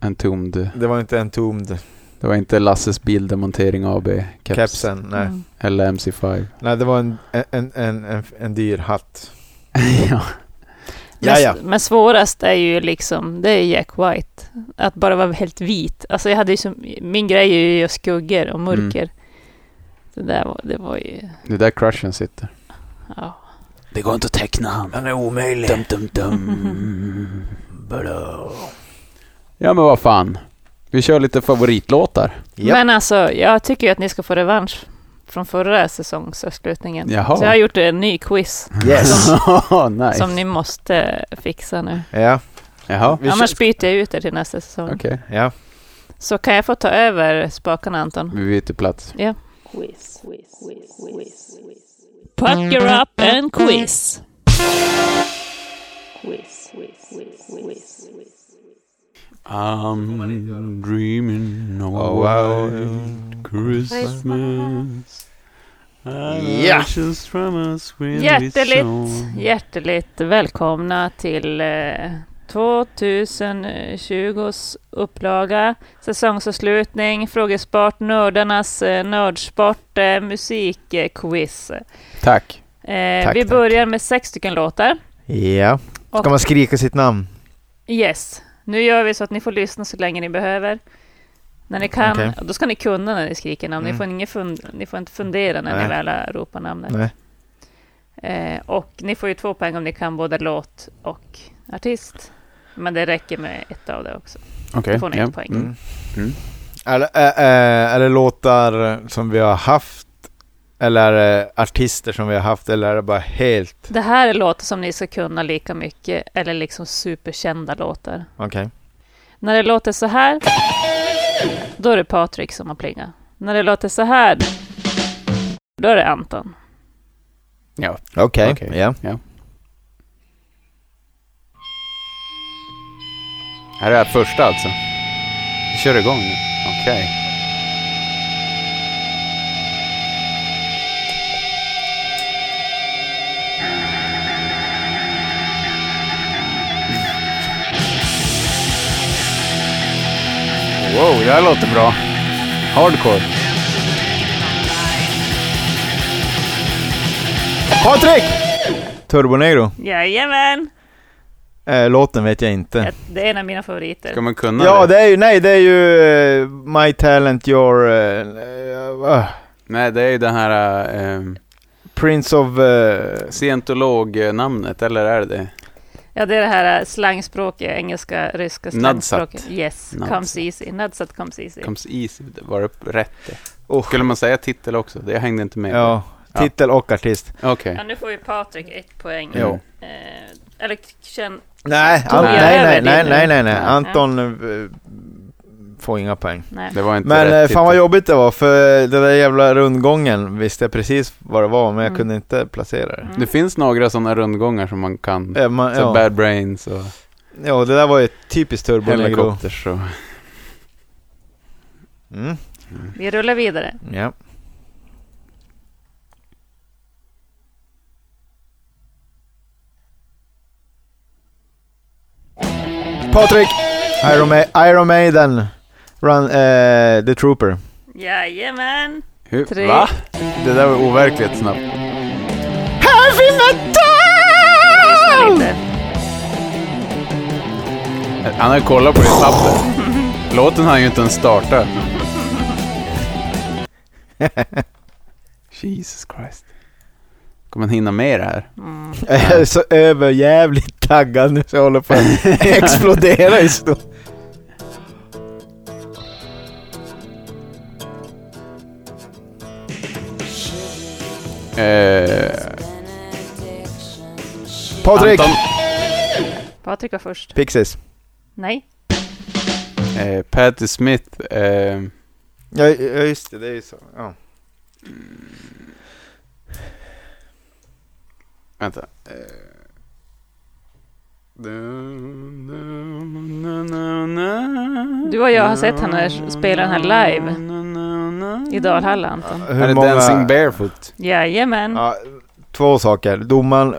en tomd.
Det var inte en tomd
Det var inte Lasses Bildemontering AB caps,
Kepsen, nej.
Mm.
eller MC5.
Nej, det var en, en, en, en, en dyr hatt.
[laughs] ja.
Men,
Ja, ja.
men svårast är ju liksom, det är Jack White. Att bara vara helt vit. Alltså jag hade ju som, min grej är ju just skuggor
Mm.
och mörker. Det där var, det var ju,
Det är där crushen sitter.
ja.
Det går inte att teckna han.
är omöjlig.
Dum, dum,
[laughs]
dum. ja men vad fan. Vi kör lite favoritlåtar.
Japp.
Men alltså, jag tycker ju att ni ska få revansch från förra säsongsavslutningen.
Jaha.
Så jag har gjort en ny quiz
[laughs]
[laughs]
Yes.
nice.
som ni måste fixa nu.
ja,
Jaha,
vi
Annars byter jag ut er till nästa säsong.
okej.
ja.
Så kan jag få ta över spakarna Anton?
Vi byter plats.
Ja. Pucker up and quiz.
I'm dreaming of
Oh, wow. wild
Christmas.
Ja. Mm.
Hjärteligt, hjärteligt välkomna till eh, 2020s upplaga, säsongsavslutning, frågesport, nördarnas eh, nördsport, eh, musikquiz.
Tack.
Eh,
Tack,
vi
tack.
börjar med sex stycken låtar.
Ja. Ska
Och-
man skrika sitt namn?
Yes, nu gör vi så att ni får lyssna så länge ni behöver. När ni kan,
Okej.
Då ska ni kunna när ni skriker namn. Ni,
Mm.
får ingen fund, ni får inte fundera när ni
Nej.
väl ropar namnet.
Nej.
Eh, och ni får ju två poäng om ni kan både låt och artist. Men det räcker med ett av det också.
Okej.
Då får ni
ja.
ett poäng.
Mm.
Eller, äh, äh, är det låtar som vi har haft? Eller är det artister som vi har haft? Eller är det bara helt...
Det här är låtar som ni ska kunna lika mycket, eller liksom superkända låtar.
Okej.
När det låter så här, då är det Patrik som har plingat. När det låter så här, då är det Anton.
Ja.
Okej,
Okej.
ja.
ja. Här är första alltså. Vi kör igång nu. Okej. Wow, det här låter bra. Hardcore.
Patrik! Turbonegro.
Jajamän!
Eh, låten vet jag inte.
Det är en av mina favoriter.
Ska man kunna
Ja,
det?
det är ju, nej det är ju eh, My Talent Your... eh, eh,
Nej, det är ju den här... ehm,
Prince of... eh,
Scientolog-namnet, eller är det det?
Ja, det är det här eh, slangspråket, engelska, ryska
Nadsat.
slangspråket. Yes,
Nadsat.
comes easy. Nadsat comes easy.
Comes easy, var det rätt det?
oh,
Skulle man säga titel också? Det jag hängde inte med.
ja,
Ja.
titel och artist.
Okej. Mm.
Ja, nu får ju Patrik ett poäng.
Jo.
Eh, eller känn...
Nej,
Tog
an-
jag
nej,
över
nej,
din
nej,
nu?
nej, nej, nej.
Ja.
Anton eh, får inga poäng.
Nej.
Det var inte
Men eh,
rätt
fan vad
titel.
jobbigt det var, för den där jävla rundgången visste jag precis vad det var, men jag
Mm.
kunde inte placera det.
Det finns några sådana rundgångar som man kan.
Eh, man,
Mm. Så
ja.
Bad Brains och
ja, det där var ju ett typiskt turbonegro.
Helicopters och...
Mm.
Vi rullar vidare.
Ja. Patrik! Iron, Ma- Iron Maiden, Run, eh, The Trooper.
Jajamän!
Hur?
Tre.
Va? Det där var overkligt snabbt.
Heavy
Lyssna
metal!
lite.
Han har kollat på det snabbt där. Låten har ju inte ens startat.
[laughs]
Jesus Christ. Kommer man hinna med det här?
Jag är så överjävligt taggad nu så jag håller
[laughs]
på att explodera i stå.
Eh,
Patrik!
Anton,
Patrik var först.
Pixies.
Nej.
eh, Patti Smith. Eh,
Ja, ja, just det, det är ju så. Ja.
Vänta. Eh.
Du och jag har sett henne spela den här live i Dalhalla, Anton.
Är det Dancing Barefoot?
Jajamän!
Ja, två saker. Domaren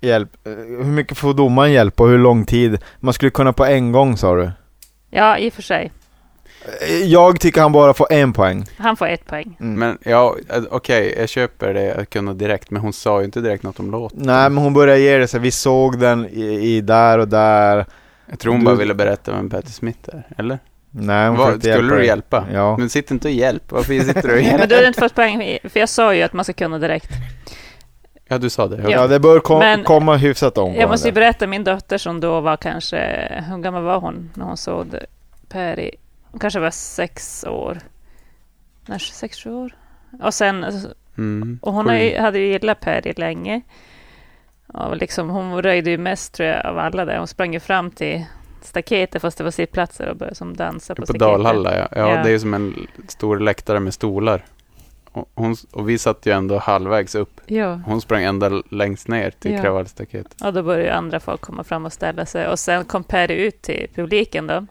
hjälp. eh, Hur mycket får domaren hjälp och hur lång tid? Man skulle kunna på en gång sa du.
Ja, i och för sig.
Eh, Jag tycker han bara får en poäng.
Han får ett poäng.
Mm.
Men ja, eh, okej, jag köper det att kunna direkt, men hon sa ju inte direkt något om låten.
Nej, men hon börjar ge det så här, vi såg den i, i där och där.
Jag tror hon
Du-
bara ville berätta vem Patti Smith är, eller?
Nej, hon
Vad,
försökte
skulle du
dig.
hjälpa?
Ja.
Men sitt inte och hjälp, varför sitter du
[laughs]
och
Men du
hjälper?
har inte fått poäng, för jag sa ju att man ska kunna direkt.
Ja, du sa det.
Ja.
Ja, det bör kom,
Men-
komma hyfsat omgående.
Jag måste ju berätta, min dotter som då var kanske, hur gammal var hon när hon såg Perry? Hon kanske var sex år. Nej, sex, sju år. Och sen,
Mm.
och hon
Sju.
har ju, hade ju gillat Perry länge. Och liksom, hon röjde ju mest tror jag av alla där. Hon sprang ju fram till staketet fast det var sittplatser och började som dansa på,
På
staketet.
Dalhalla, ja. ja.
Ja.
Det är ju som en stor läktare med stolar. Och, hon, och vi satt ju ändå halvvägs upp.
Ja,
Hon sprang ända längst ner till
Ja.
kravallstaketet. [laughs]
och då började ju andra folk komma fram och ställa sig. Och sen kom Perry ut till publiken då.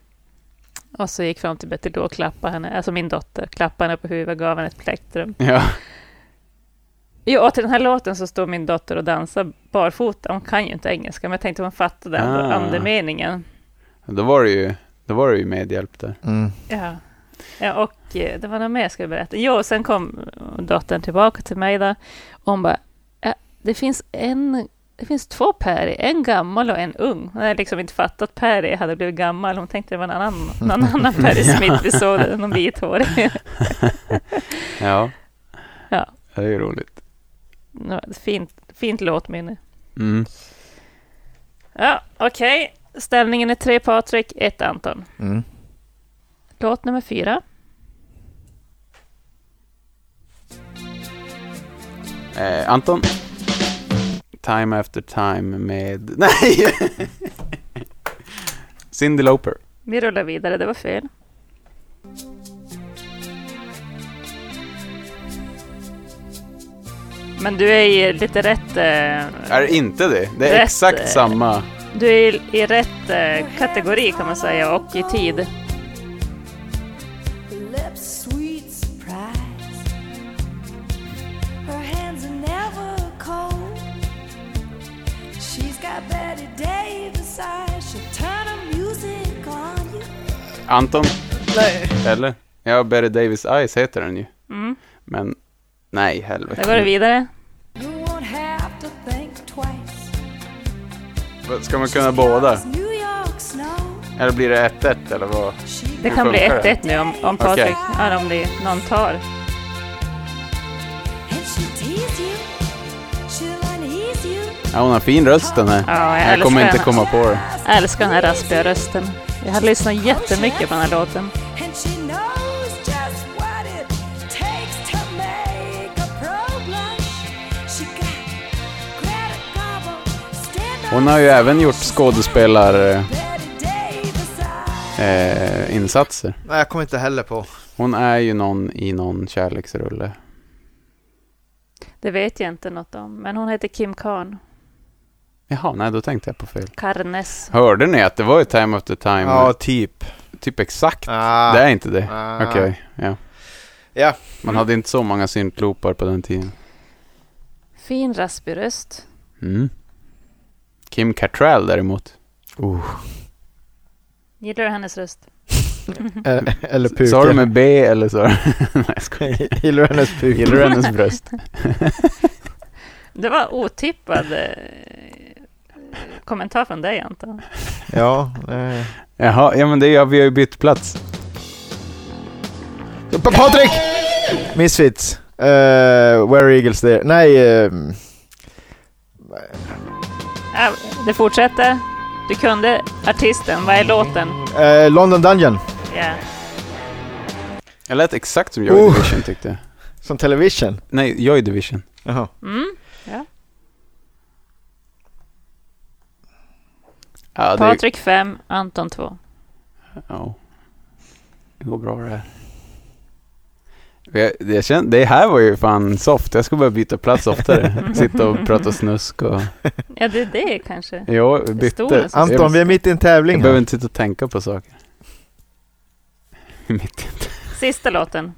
Och så gick fram till Betty Lou och klappade henne, alltså min dotter, klappade henne på huvudet, gav henne ett plektrum.
Ja.
Jo, och till den här låten så står min dotter och dansar barfota. Hon kan ju inte engelska, men jag tänkte hon fattade ändå
Ah.
andemeningen.
Då var det ju, då var det ju medhjälp där.
Mm.
Ja. ja, och eh, det var något mer jag skulle berätta. Jo, och sen kom dottern tillbaka till mig där. Och hon bara, "Ja, det finns en det finns två Perry, en gammal och en ung. Hon hade liksom inte fattat att Perry hade blivit gammal. Hon tänkte det var en annan, någon annan Perry Smith vi såg, där, någon [laughs] vithårig.
Ja.
Ja.
Det är ju roligt.
Det var ett Fint, fint låtminne.
Mm.
Ja, okej. Ställningen är tre Patrik, ett Anton.
Mm.
Låt nummer fyra.
Eh, Anton. Time after time med... [laughs] Nej! Cyndi Lauper.
Vi rullar vidare, det var fel. Men du är i lite rätt... eh,
Är det inte det? Det är
Rätt, eh,
exakt samma.
Du är i- i rätt eh, kategori kan man säga, och i tid.
Her lips sweet surprise. Her hands are never cold. She's got Betty Davis eyes. She'll turn her music on you.
Anton? Nej. Eller? Ja, Betty Davis Eyes heter den ju. Men, nej helvete.
Där går Mm. det vidare.
You won't have to think twice.
Vad, Ska man kunna båda?
New York snow.
Eller blir det 1-1 eller vad?
She
Det kan bli
funkar det?
1-1 nu om, om Patrik,
Okej.
ja, om det någon tar.
and she'll tease you. She'll unease you.
Ja, hon har fin röst den här.
Ja, jag
jag kommer
älskar
inte
henne.
komma på det.
Jag älskar den här raspiga rösten. Jag har lyssnat jättemycket på den här låten.
And she knows just what it takes to make a pro blush. She got Greta Garbo, stand
Hon har ju även gjort skådespelarinsatser.
Betty Davis eyes.
Eh, insatser.
Nej, jag kommer inte heller på.
hon är ju någon i någon kärleksrulle.
Det vet jag inte något om, men hon heter Kim Karn.
Jaha, nej då tänkte jag på fel.
Karnes.
Hörde ni att det var ju Time After Time?
Ja, typ.
Typ exakt.
Ah.
Det är inte det.
Ah.
Okej, ja.
Ja.
Man hade inte så många syntloopar på den tiden.
Fin raspig röst.
Mm. Kim Cattrall däremot.
Gillar du hennes röst?
Eh, Eller
Sa du
puken.
med B eller så? nej, jag skojar.
[laughs] Gillar du hennes puk?
Gillar du hennes bröst?
Det var otippad eh, kommentar från dig Anton.
Ja. Eh.
[laughs] Jaha, ja men det är, ja, vi har ju bytt plats.
Pa- Patrik! Misfits. Uh, where are Eagles there? Nej, eh,
Ja, det fortsätter. Du kunde artisten,
Mm.
vad är låten?
eh, London Dungeon.
Ja.
Jag lät exakt som Joy
Oh.
Division tyckte jag.
Som Television.
Nej, Joy Division.
Jaha.
Mm.
Ja, det,
Patrik 5, Anton 2.
ja. det går bra det här. Jag, jag känner, det här var ju fan soft. Jag ska börja byta plats [laughs] oftare. Sitta och prata snusk och...
Ja, det är det kanske.
Ja, vi bytte.
Stolen som-
Anton, vi är mitt i en
Jag
tävling.
behöver
här.
inte sitta och tänka på saker. [laughs] Mitt i en-
Sista låten.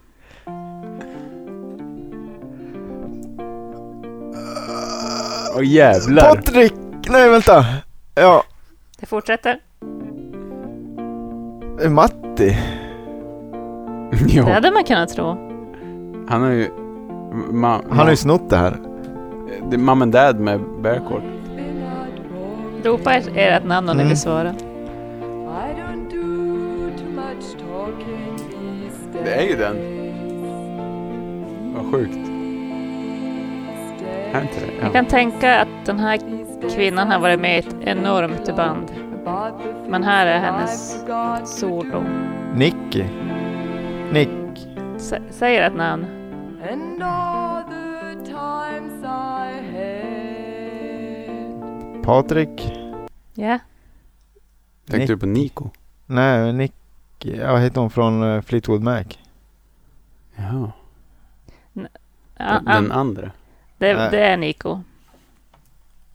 Åh jävlar.
Patrik! Nej, vänta. Ja,
Det fortsätter.
eh, Matti.
[laughs] Jo,
Det hade man kunnat tro.
han har ju... Ma,
Han har ju snott det här.
Det är Mom and Dad med Bearcourt.
Ropa ert- ert namn om ni
Mm.
vill svara.
I don't do too much talking these days.
Det är ju den. Vad sjukt. Är inte det?
Jag kan tänka att den här kvinnan har varit med i ett enormt band. Men här är hennes solo.
Nicky. Nick.
Sä- Säger ett namn.
And all the times I had.
Patrik.
Ja,
Tänkte du på Nico?
Nej, Nicky. Ja, Vad heter hon från eh, Fleetwood Mac?
Jaha.
ja
Den,
ja,
den andra.
det, det är Nico.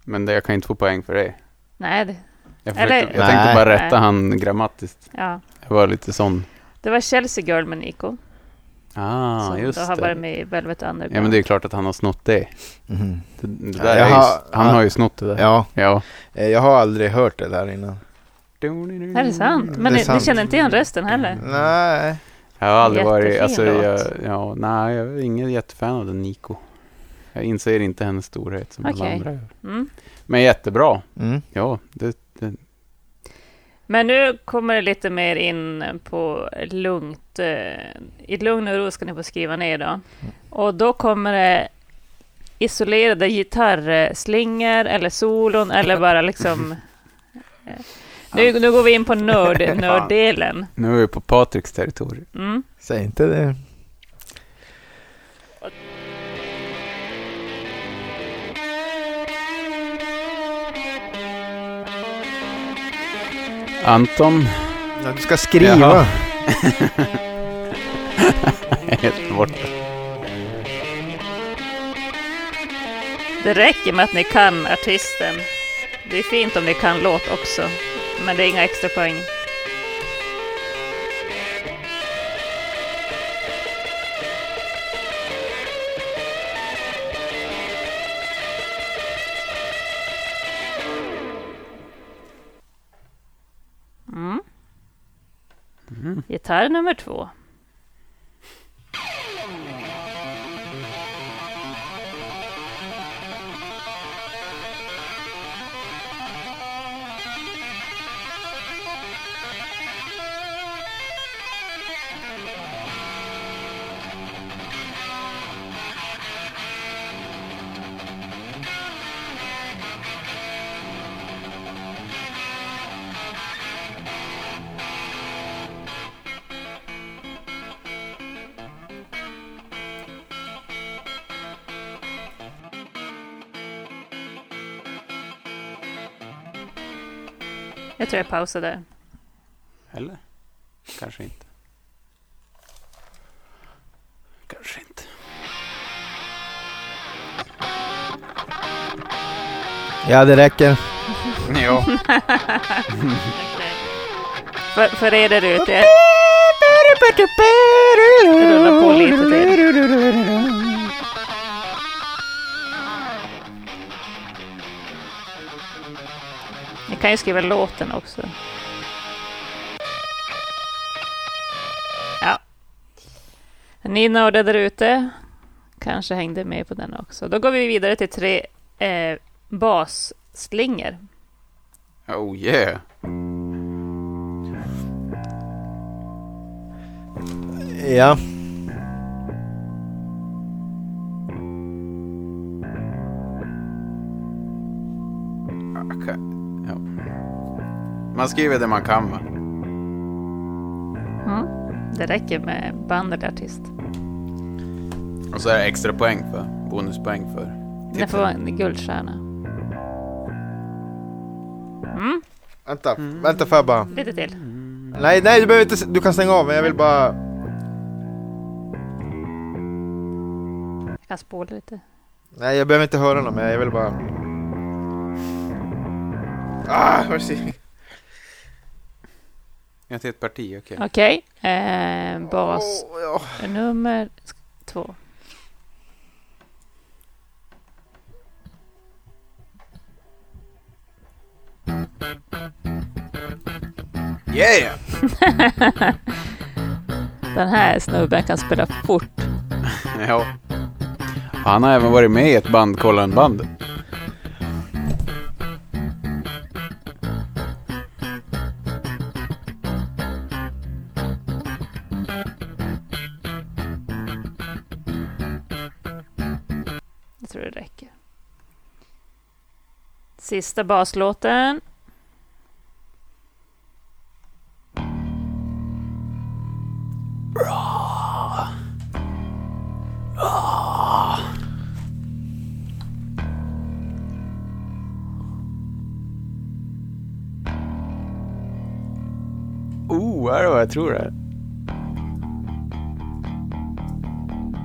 Men det, jag kan inte få poäng för det.
Nej, det,
Jag, försökte,
Eller-
jag tänkte
Nej.
bara rätta
Nej.
han grammatiskt.
ja.
Jag var lite sån.
det var Chelsea Girl med Nico.
Ah,
som då
just
har
det.
varit med i Velvet Underground.
Ja, men det är ju klart att han har snott det.
Mhm.
det, det
Ja,
där
jag
är ju,
har-
han
han-
har ju snott det där.
Ja,
ja.
eh, jag har aldrig hört det där innan.
Är det sant? Men
Det är
ni, ni
sant.
känner inte igen rösten
Mm.
heller?
Nej.
Jag har aldrig varit...
Jättefin
Alltså,
låt.
jag, ja, nej, jag är ingen jättefan av den Nico. Jag inser inte hennes storhet som alla
Okej.
andra gör.
Mm.
Men jättebra.
Mm.
Ja, det, det,
Men nu kommer det lite mer in på lugnt. eh, I lugn och ro ska ni få skriva ner då. Och då kommer det isolerade gitarrslingor eller solon eller bara
[laughs]
liksom... eh, Nu, nu går vi in på nörd, nörddelen.
nu är vi på Patriks territorium.
Mm.
Säg inte det.
Anton,
Ja, du ska skriva.
Jaha. helt borta.
Det räcker med att ni kan artisten. Det är fint om ni kan låt också. Men det är inga extra poäng. Mm. Gitarr nummer två. Jag tror jag pausar där.
Eller? Kanske inte. Kanske inte.
Ja, det räcker.
Ja.
För, för er där ute. jag- Jag rullar på lite till. Ni kan ju skriva låten också. Ja. Ni nördar där ute kanske hängde med på den också. Då går vi vidare till tre eh, basslingor.
Oh yeah.
Ja.
Okej. Ja. Man skriver det man kan va?
Det räcker med band eller artist.
Och så är det extra poäng för. Bonuspoäng för.
Det får vara en guldstjärna.
Vänta, vänta får jag bara.
Mm, Lite till.
Nej, nej du behöver inte, s- du kan stänga av men jag vill bara...
Jag kan spola lite.
Nej jag behöver inte höra något mer, jag vill bara... Ah, mercy.
Jag till ett parti, okej.
Okej. Eh, bas
Åh, ja.
nummer två.
Yeah!
Den här snubben kan spela fort.
Ja. Han har även varit med i ett band, Kollen-bandet.
Jag tror det räcker. Sista baslåten.
Oh, är det vad jag tror det är?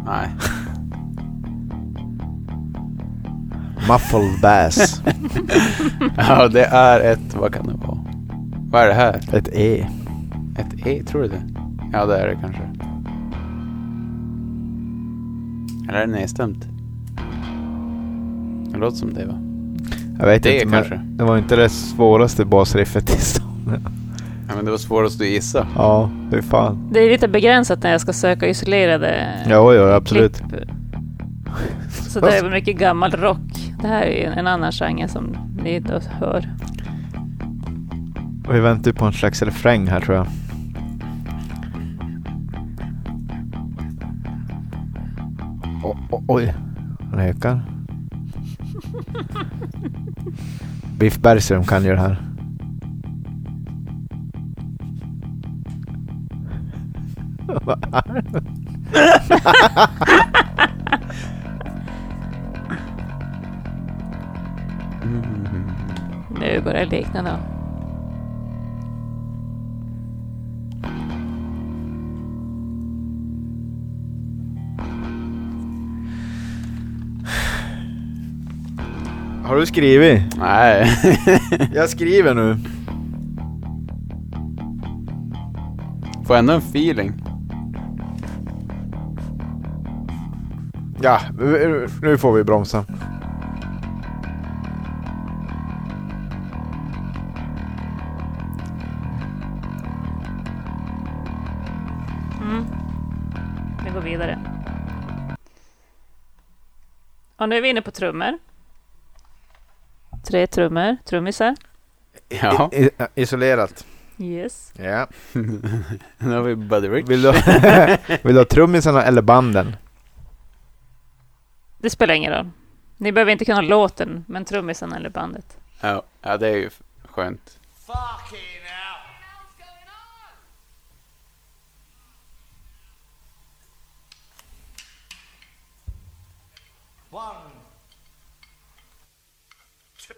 Nej.
Muffled bass.
Ja, det är ett... Vad kan det vara? Vad är det här?
Ett E.
Ett E, tror du det? Ja, det är det kanske. Eller är det nedstämt? Det låter som det, va?
Jag vet
Det
inte. men
kanske.
Det var inte det svåraste basriffet i stan.
Ja, men det var svårast att gissa.
Ja, det är fan.
Det är lite begränsat när jag ska söka isolerade
Jo, jo, absolut.
klipp. Så det är mycket gammal rock. Det här är ju en annan genre som ni inte hör.
Vi väntar ju på en slags refräng här tror jag. O- o- oj, han ökar. Biff Bergström kan ju det här. Vad är det?
Nu börjar det likna något.
Har du skrivit?
Nej. [laughs]
Jag skriver nu.
Får ändå en feeling.
Ja, nu får vi bromsa.
Vi går vidare. Och nu är vi inne på trummor. Tre trummor, trummisar.
Ja,
I, isolerat.
Yes.
Ja.
nu har vi Buddy Rich.
Vill du, [laughs] vill du ha trummisarna eller banden?
Det spelar ingen roll. Ni behöver inte kunna låten, men trummisen eller bandet.
Ja, ja, det är ju skönt.
Fucking hell. One. Two.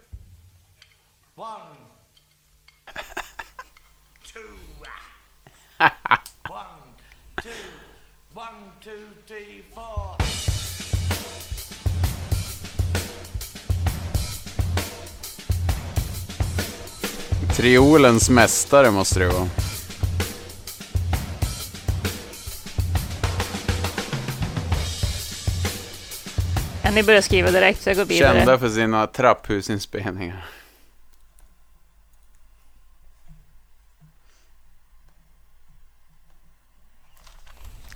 One. Two. One, two. One, two, three, four.
Triolens mästare måste det vara.
Ja, ni börjar skriva direkt, så jag går vidare.
Kända för sina trapphusinspelningar.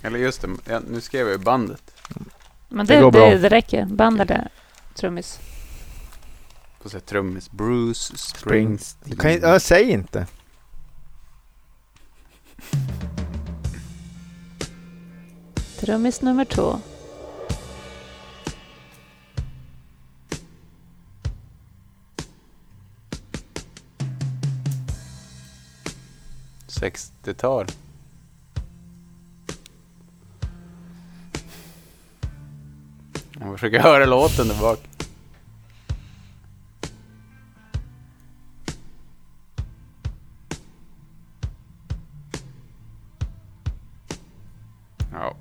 Eller just det, ja, nu skrev jag ju bandet.
Men
Det
det, det,
går bra.
det, räcker. Band eller trummis.
På säga trummis. Bruce Springsteen.
Kan jag, jag säg inte.
Trummis nummer två.
Sextiotal. Jag försöker höra låten där bak. Ja.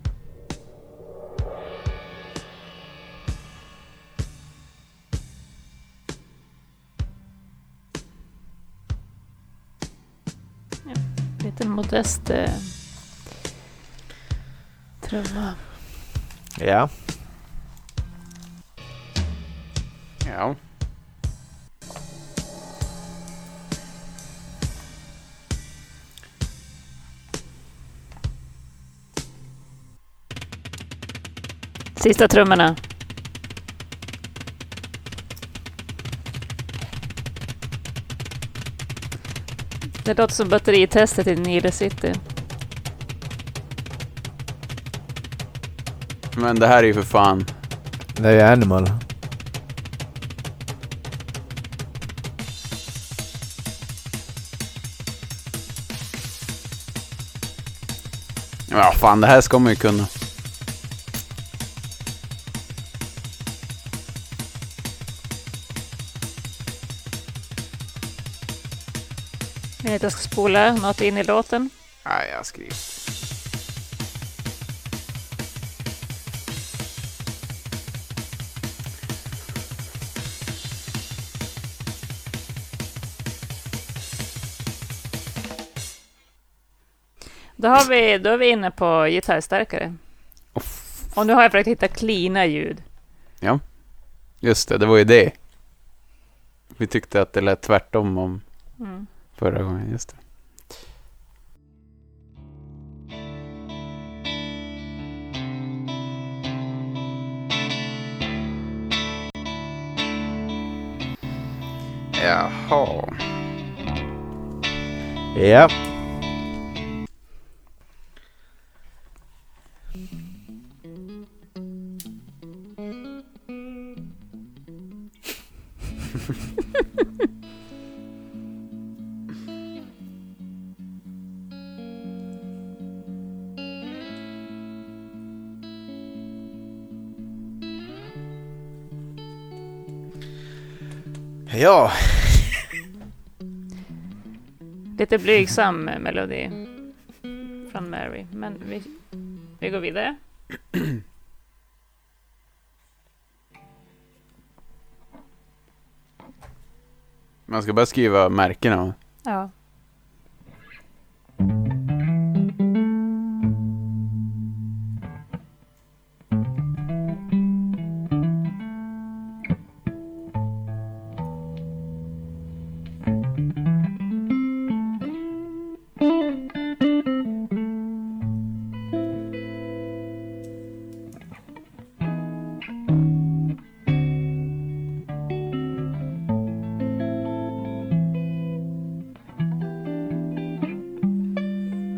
Lite modest eh, trumma.
Ja.
Ja.
Sista trummorna. Det låter som batteritestet i Nile City.
Men det här är ju för fan...
Det är ju Animal.
Ja, fan det här ska man ju kunna.
Jag vet att jag ska spola något in i låten.
Nej, jag skriver.
Då, har vi, då är vi inne på gitarrstärkare. Och nu har jag försökt hitta cleana ljud.
Just det, det var ju det. Vi tyckte att det lät tvärtom om
Mm.
förra gången. Just det. Jaha.
Ja. Ja.
Lite blygsam melodi från Mary. Men vi, vi går vidare.
Man ska bara skriva märkena. va?
Ja.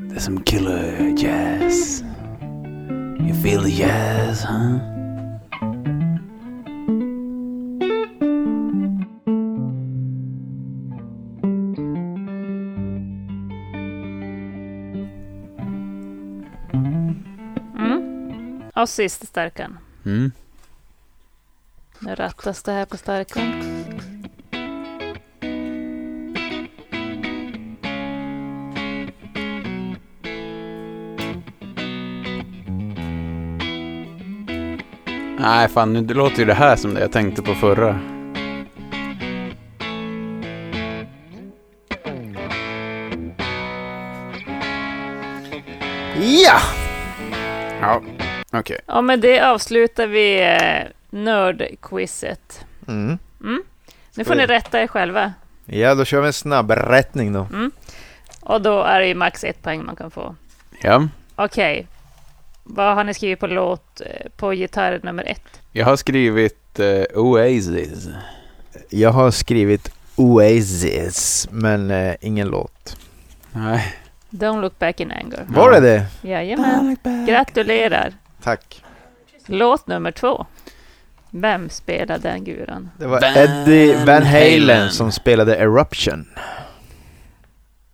There's some killer jazz. You feel the jazz, huh?
Och sist stärkan.
Mm.
Nu rattas det här på stärkan.
Nej, fan nu det låter ju det här som det jag tänkte på förra.
Ja!
Ja, okej.
Och med det avslutar vi eh, nördquizet.
Mm.
Nu får ni rätta er själva.
Ja, då kör vi en snabb rättning då.
Och då är det ju max ett poäng man kan få.
Ja,
Okej. Vad har ni skrivit på låt eh, på gitarr nummer ett?
jag har skrivit eh, Oasis.
Jag har skrivit Oasis, men eh, ingen låt.
Nej.
Don't look back in anger.
Var det det?
Jajamän. Gratulerar.
Tack.
Låt nummer två. Vem spelar den guran?
Det var Eddie Van Halen som spelade Eruption.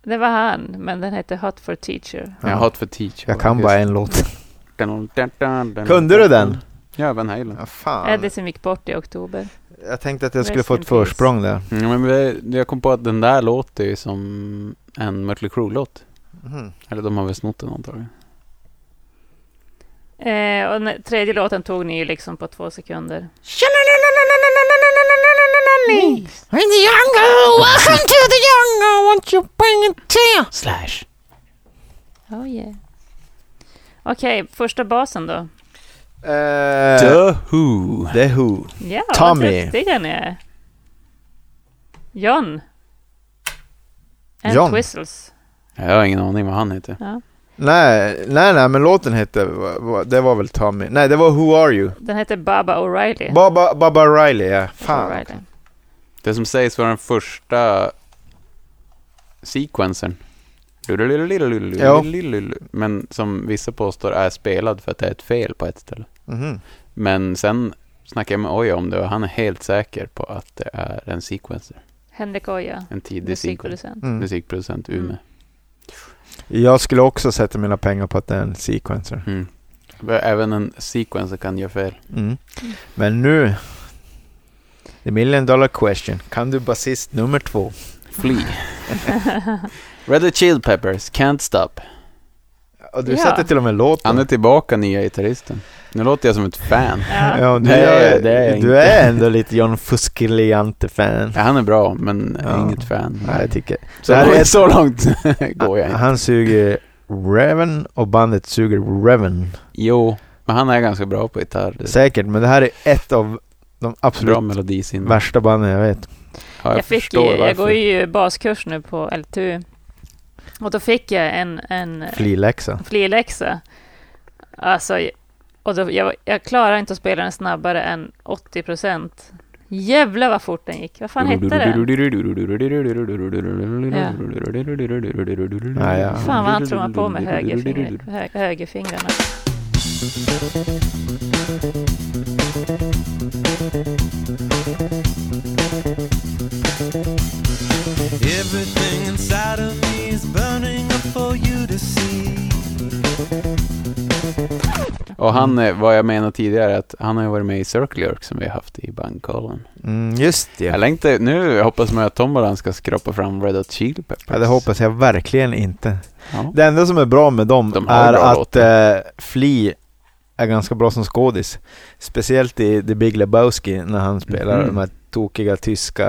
Det var han, men den hette Hot for Teacher.
Jag har hot för teacher.
Jag kan bara en låt. Kunde
Kunde
du den?
Ja, Van Halen.
Ja,
Eddie
[laughs] fan.
som gick bort i oktober.
Jag tänkte att jag skulle
Rest
få
in
ett
peace.
försprång där.
Mm, men det- jag kom på att den där låter ju som en Mötley Crüe-låt.
Mhm.
Eller de har väl snott den antagligen.
Eh, och den tredje låten tog ni ju liksom på två sekunder.
Slash.
Oh yeah. Okej, första basen då.
Eh,
The Who.
The Who.
Ja,
Tommy.
vad duktiga ni är. John. And
John.
Twistles.
Jag har ingen aning vad han heter.
Nej, nej, nej, men låten hette, va- va- det var väl Tommy, nej det var Who Are You?
Den heter Baba O'Reilly.
Baba, Baba Riley, ja. Fan.
O'Reilly.
Det som sägs vara den första sequensen.
Ja.
Men som vissa påstår är spelad för att det är ett fel på ett ställe.
Mhm.
Men sen snackade jag med Oja om det och han är helt säker på att det är en sequencer.
Henrik Oja,
En tidig sequencer.
musikproducent.
Mm.
Musikproducent Umeå.
Jag skulle också sätta mina pengar på att det är en sequencer.
Mm. Även en sequencer kan göra fel.
Mm. Men nu, the million dollar question. Kan du basist nummer två?
[laughs]
Flee. Red Hot Chili Peppers, Can't Stop.
Och du
Ja.
sätter till och med låten.
Han är tillbaka, nya gitarristen. Nu låter jag som ett fan.
Ja.
[laughs] Ja, du
Det är-
är,
det är jag
du
inte.
är ändå lite John Fusciliante-fan.
Ja, han är bra, men
Ja.
inget fan.
Ja, jag tycker.
Så,
Det här är
[laughs]
ett-
så långt går jag inte.
Han suger Reven och bandet suger Reven.
Jo, men han är ganska bra på gitarr. Det är
Säkert, men det här är ett av de absolut
bra melodisinne. Ja,
värsta banden jag vet.
Jag, fick ju,
förstår
jag
varför.
går ju baskurs nu på LTU. Och då fick jag en, en
Fliläxa.
fliläxa. Alltså, och då, jag, jag klarar inte att spela den snabbare än 80 procent. Jävlar vad fort den gick. Vad fan hette
[laughs]
den?
Ja, ja.
Fan vad han trummar på med högerfingret- hö- högerfingrarna.
Everything inside of me is burning up for you to see.
Och
Mm.
han, eh, vad jag menar tidigare, är att han har ju varit med i Circle Jerk som vi har haft i bandkollen.
Mm, just
Jag
det.
längtar, nu hoppas man att Tombolan ska skrapa fram Red Hot Chili Peppers.
Ja, det hoppas jag verkligen inte.
Ja.
Det enda som är bra med dem
De har
är
bra
att
låtar.
eh, Flea är ganska bra som skådis. Speciellt i The Big Lebowski när han spelar
Mhm.
de här tokiga tyska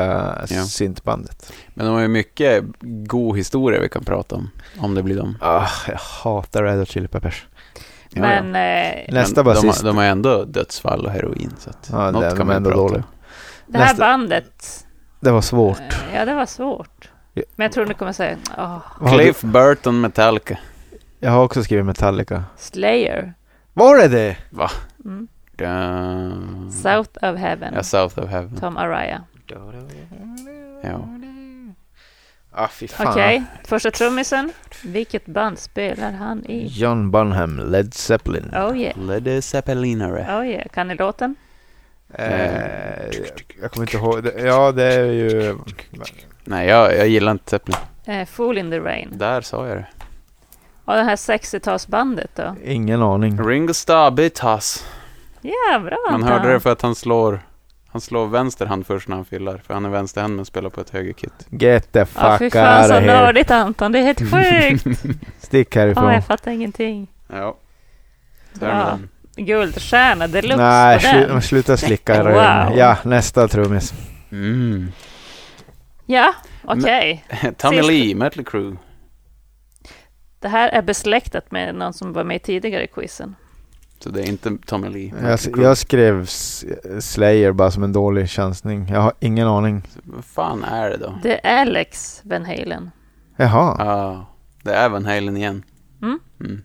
Ja.
syntbandet.
Men de har ju mycket god historia vi kan prata om, om det blir dem.
Ah, jag hatar Red Hot Chili Peppers.
Ja,
Men eh,
Nästa
Men
basist.
De, har- de har ändå dödsfall och heroin, så att
Ja, det
något
är
kan
de
man ju
ändå
prata om.
dåliga.
det här
nästa-
bandet,
Det var svårt.
eh, ja det var svårt.
Ja.
Men jag tror ni kommer säga "Ah, "Åh,
Vad har du-
Cliff Burton Metallica.
Jag har också skrivit Metallica.
Slayer,
Var det det?
mm.
Dun.
South of Heaven,
Ja, South of Heaven.
Tom Araya.
Ja.
Ah, fy fan.
Okej, första trummisen. Vilket band spelar han i?
John Bonham, Led Zeppelin.
Oh yeah,
Led Zeppelinare.
oh yeah. Kan ni låten?
Eh, jag kommer inte ihåg. Det- Ja, det är ju...
Nej, jag, jag gillar inte Zeppelin.
Eh, Fool in the Rain.
Där sa jag det.
Och det här 60-talsbandet då?
Ingen aning.
Ringo Starr, Bitas.
Ja, bra
Man
Anton.
hörde det för att han slår, han slår vänster hand först när han fillar. För han är vänsterhänt men spelar på ett högerkit.
Get the
Ja,
fuck
fy
out
fan så
of here.
nördigt Anton. Det
[laughs]
är helt sjukt.
Stick
Ja,
härifrån.
jag fattar ingenting.
Ja. Så är det med
Bra.
den.
Guldstjärna deluxe
Nej,
på den.
slu- sluta
[laughs] Wow.
slicka röven. Ja, nästa trummis.
Mm. [laughs]
Ja, okej.
Tommy
Sist-
Lee, Mötley Crüe.
Det här är besläktat med någon som var med tidigare i quizen.
Så det är inte Tommy Lee. Mötley
Jag, s-
Crüe.
jag skrev s- Slayer bara som en dålig chansning. Jag har ingen aning.
Vad fan är det då?
Det är Alex Van Halen.
Jaha.
Ah, det är Van Halen igen.
Mm.
Mm.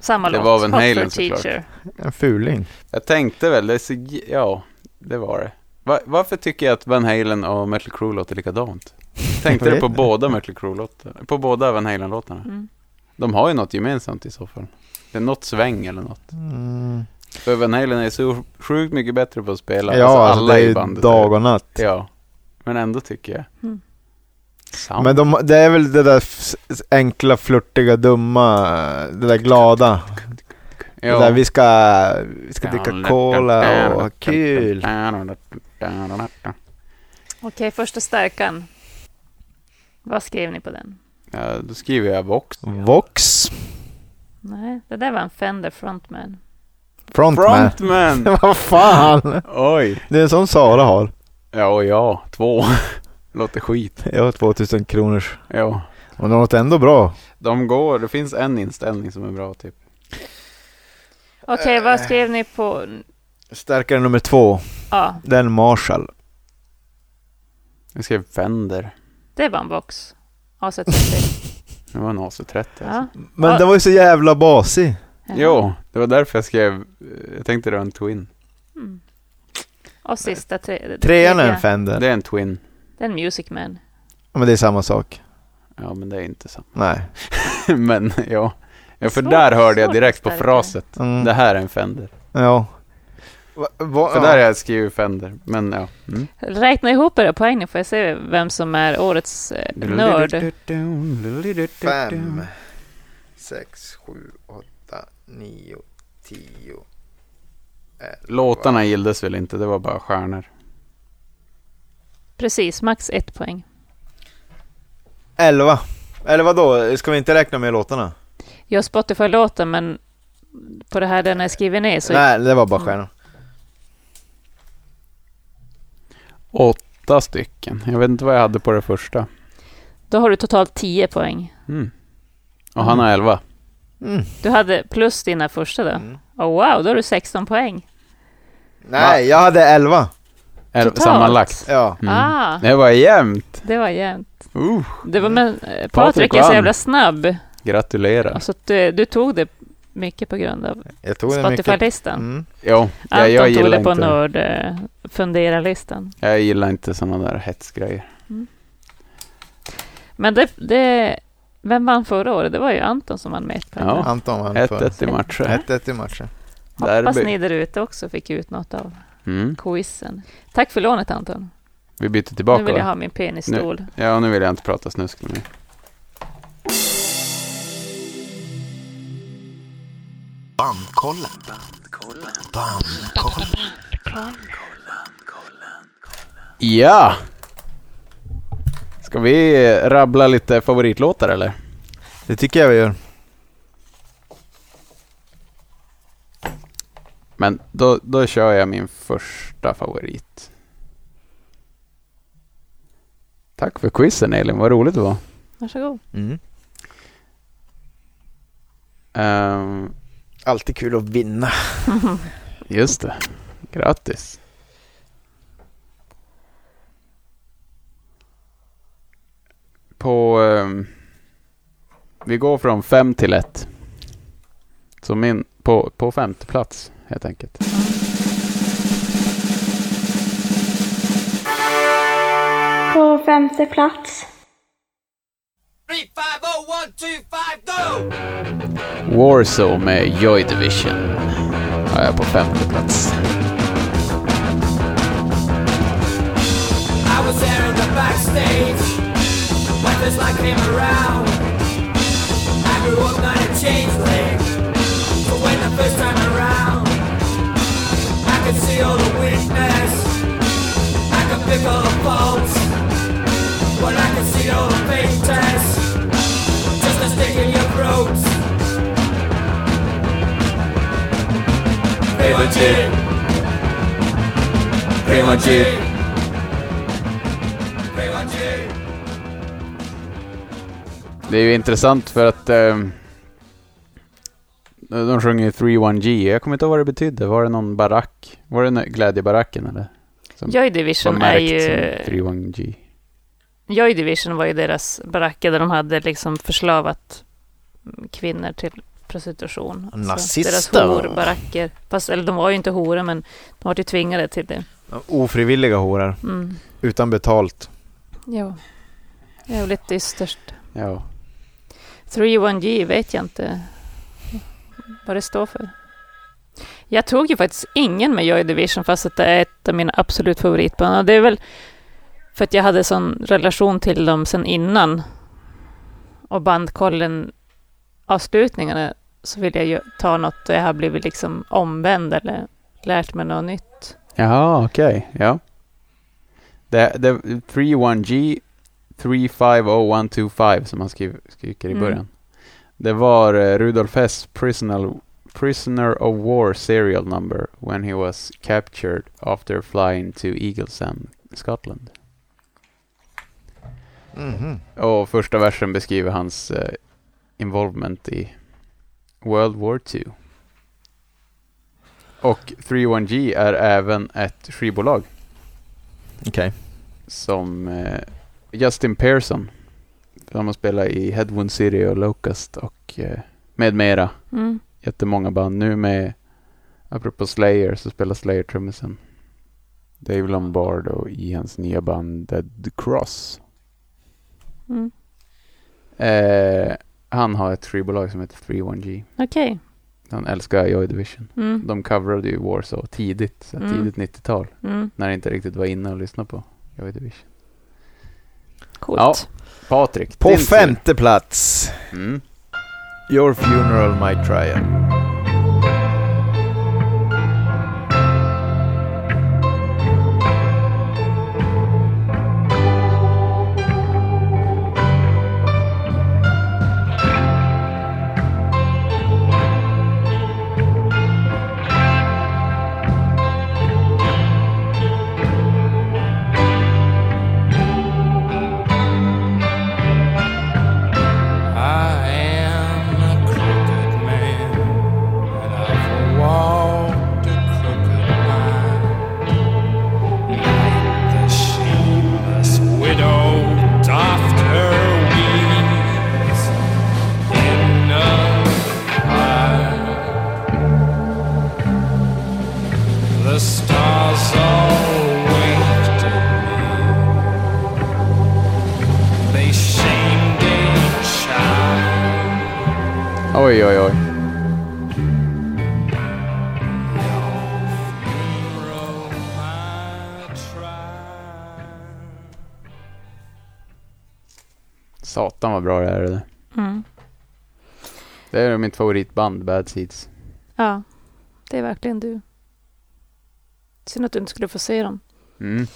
Samma
Det
låt.
var Van
Hot for
Halen
Teacher.
En fuling.
Jag tänkte väl, det är så, j- ja, det var det. Va- varför tycker jag att Van Halen och Mötley Crüe låter likadant? Tänkte
Jag
du på
vet
båda Mötley Crüe-låtarna? På båda Van Halen-låtarna?
Mm.
De har ju något gemensamt i så fall. Det är något sväng eller något.
Mm.
För Van Halen är så sjukt mycket bättre på att spela.
Ja,
alltså, alla
det är
i
ju
bandet.
dag och natt.
är- Ja, men ändå tycker jag.
Mm.
Sound.
Men de, det är väl det där f- s- enkla, flörtiga, dumma, det där glada.
ja.
Det där vi ska, vi ska dricka cola och ha kul.
Okej, första stärkan. Vad skrev ni på den?
Ja, då skriver jag Vox.
Vox
Nej, det där var en Fender Frontman.
Frontman. [laughs]
Frontman!
Vad fan!
Oj!
Det är en sån Sara har.
Ja, och ja, två. [laughs] Låter skit.
Jag har 2000 kronors.
Ja.
Och den låter ändå bra.
De går, det finns en inställning som är bra typ.
Okej,
Äh.
vad skrev ni på?
Stärkare nummer två,
Ja,
det är en Marshall.
Jag skrev Fender. [laughs]
det var en box. AC30.
Det var en AC30. Alltså.
Ja.
Men
Ja.
den var ju så jävla basig.
Jo, det var därför jag skrev, jag tänkte det var en Twin.
Mm. Och sista tre,
Trean är
tredje.
en Fender.
Det är en Twin.
Det är en Music Man.
Ja, Men det är samma sak.
Ja, men det är inte sant.
Nej.
[laughs] men ja. ja för
Svårt-
där hörde jag
svårt
direkt på
att
fraset.
Mm.
Det här är en Fender.
Ja. Va, va,
För där har jag skrivit Fender. Men ja. Mm.
Räkna ihop era poäng nu får jag se vem som är årets eh, nörd.
Fem, sex, sju, åtta, nio, tio. elva.
Låtarna gillades väl inte, det var bara stjärnor.
Precis, max ett poäng.
Elva. Eller vadå? Ska vi inte räkna med låtarna?
Jag har Spotify-låten men på det här den är skriven ner så...
Nej, det var bara stjärnor.
Åtta stycken. Jag vet inte vad jag hade på det första.
Då har du totalt 10 poäng.
Mm. Och han har elva.
Mm.
Du hade plus dina första då.
Mm.
Oh, wow, då har du 16 poäng.
Nej, jag hade elva.
Elva
Totalt.
sammanlagt.
Ja.
Mm.
Ah,
Det var jämnt.
det var jämnt.
Uh,
Det var, men eh,
Patrik
Patrik är så
vann.
jävla snabb.
gratulerar.
Alltså, att du, du tog det mycket på grund av
Jag tog det mycket.
Spotify-listan.
Mm.
Jo, jag,
Anton
jag
tog
gillar
det på eh,
inte.
Nörd-fundera-listan.
Jag gillar inte sådana där hetsgrejer.
Men det, det... Vem vann förra året? Det var ju Anton som vann med ett poäng.
Ja.
va?
Anton vann för
1-1 i matcher.
1-1 i matchen.
Hoppas
Derby.
ni där ute också fick ut något av
Mm.
quizen. Tack för lånet Anton.
Vi byter
nu
tillbaka
vill jag
va?
ha min penisstol.
Ja, nu vill jag inte prata snusk med mig.
Bandkollen. Bandkollen.
Ja! Ska vi eh, rabbla lite favoritlåtar eller?
Det tycker jag vi gör.
Men då, då kör jag min första favorit. Tack för quizen Elin, vad roligt det var.
Varsågod.
Mm.
Ehm,
Alltid kul att vinna.
just det, grattis. På... ehm, vi går från fem till ett. Så min... På, på femte plats helt enkelt.
På femte plats.
Warzone med Joy Division. Ja, jag är på femte plats.
I was there in the backstage when this light came around. I grew up not a changeling, but when the first time around, I could see all the weakness, I could pick all the faults, but I could see all the fake tests, just a stick in your throats. Hey, legit. Hey, legit. Hey, legit.
Det är ju intressant för att ehm, de sjunger ju 3-1-G. Jag kommer inte ihåg vad det betydde. Var det någon barack? Var det nå- glädjebaracken eller? Som
Joy
var
Division är
märkt
ju...
som 3-1-G.
Joy Division var ju deras baracker där de hade liksom förslavat kvinnor till prostitution. Alltså,
Nazister.
Deras horbaracker. Fast, eller de var ju inte horor, men de var ju tvingade till det.
Ofrivilliga horor.
Mm.
Utan betalt.
Ja. Jävligt dystert.
Ja.
3-1-G vet jag inte vad det står för. Jag tog ju faktiskt ingen med Joy Division fast att det är ett av mina absolut favoritband. Och Det är väl för att jag hade sån relation till dem sen innan. Och bandkollen avslutningarna så ville jag ju ta något där jag har blivit liksom omvänd eller lärt mig något nytt.
Jaha, okej. Ja. Det, det, 3-1-G, 3-5-0-1-2-5 som han skriv, skriker i
Mm.
början. Det var eh, Rudolf Hess prisoner, prisoner of War serial number when he was captured after flying to Eaglesham, Scotland.
Mhm.
Och första versen beskriver hans eh, involvement i World War II. Och 3-1-G är även ett skivbolag
Okej.
som eh, Justin Pearson De har spelat i Headwound City och Locust och eh, med mera.
Mm.
Jättemånga band. Nu med, apropå Slayer, så spelar Slayer trummisen Dave Lombardo i hans nya band Dead Cross.
Mm.
Eh, han har ett skivbolag som heter 31G.
Okej.
Han älskar Joy Division.
Mm.
De coverade ju Warsaw tidigt, så här
Mm.
tidigt 90-tal.
Mm.
När det inte riktigt var inne att lyssna på Joy Division.
Coolt.
Ja, Patrik.
På
din tur.
femte plats.
Mm.
Your funeral, my trial.
I am a crooked man, and I've walked a crooked line. Like the shameless widow doffed her weeds in the pride. The stars all winked at me. They shamed a child.
Oj, oj, oj.
Funeral, my trial.
Satan vad bra det här är. Det.
Mm.
det är mitt favoritband, Bad Seeds.
ja, det är verkligen du. Synd att du inte skulle få se dem.
Mm.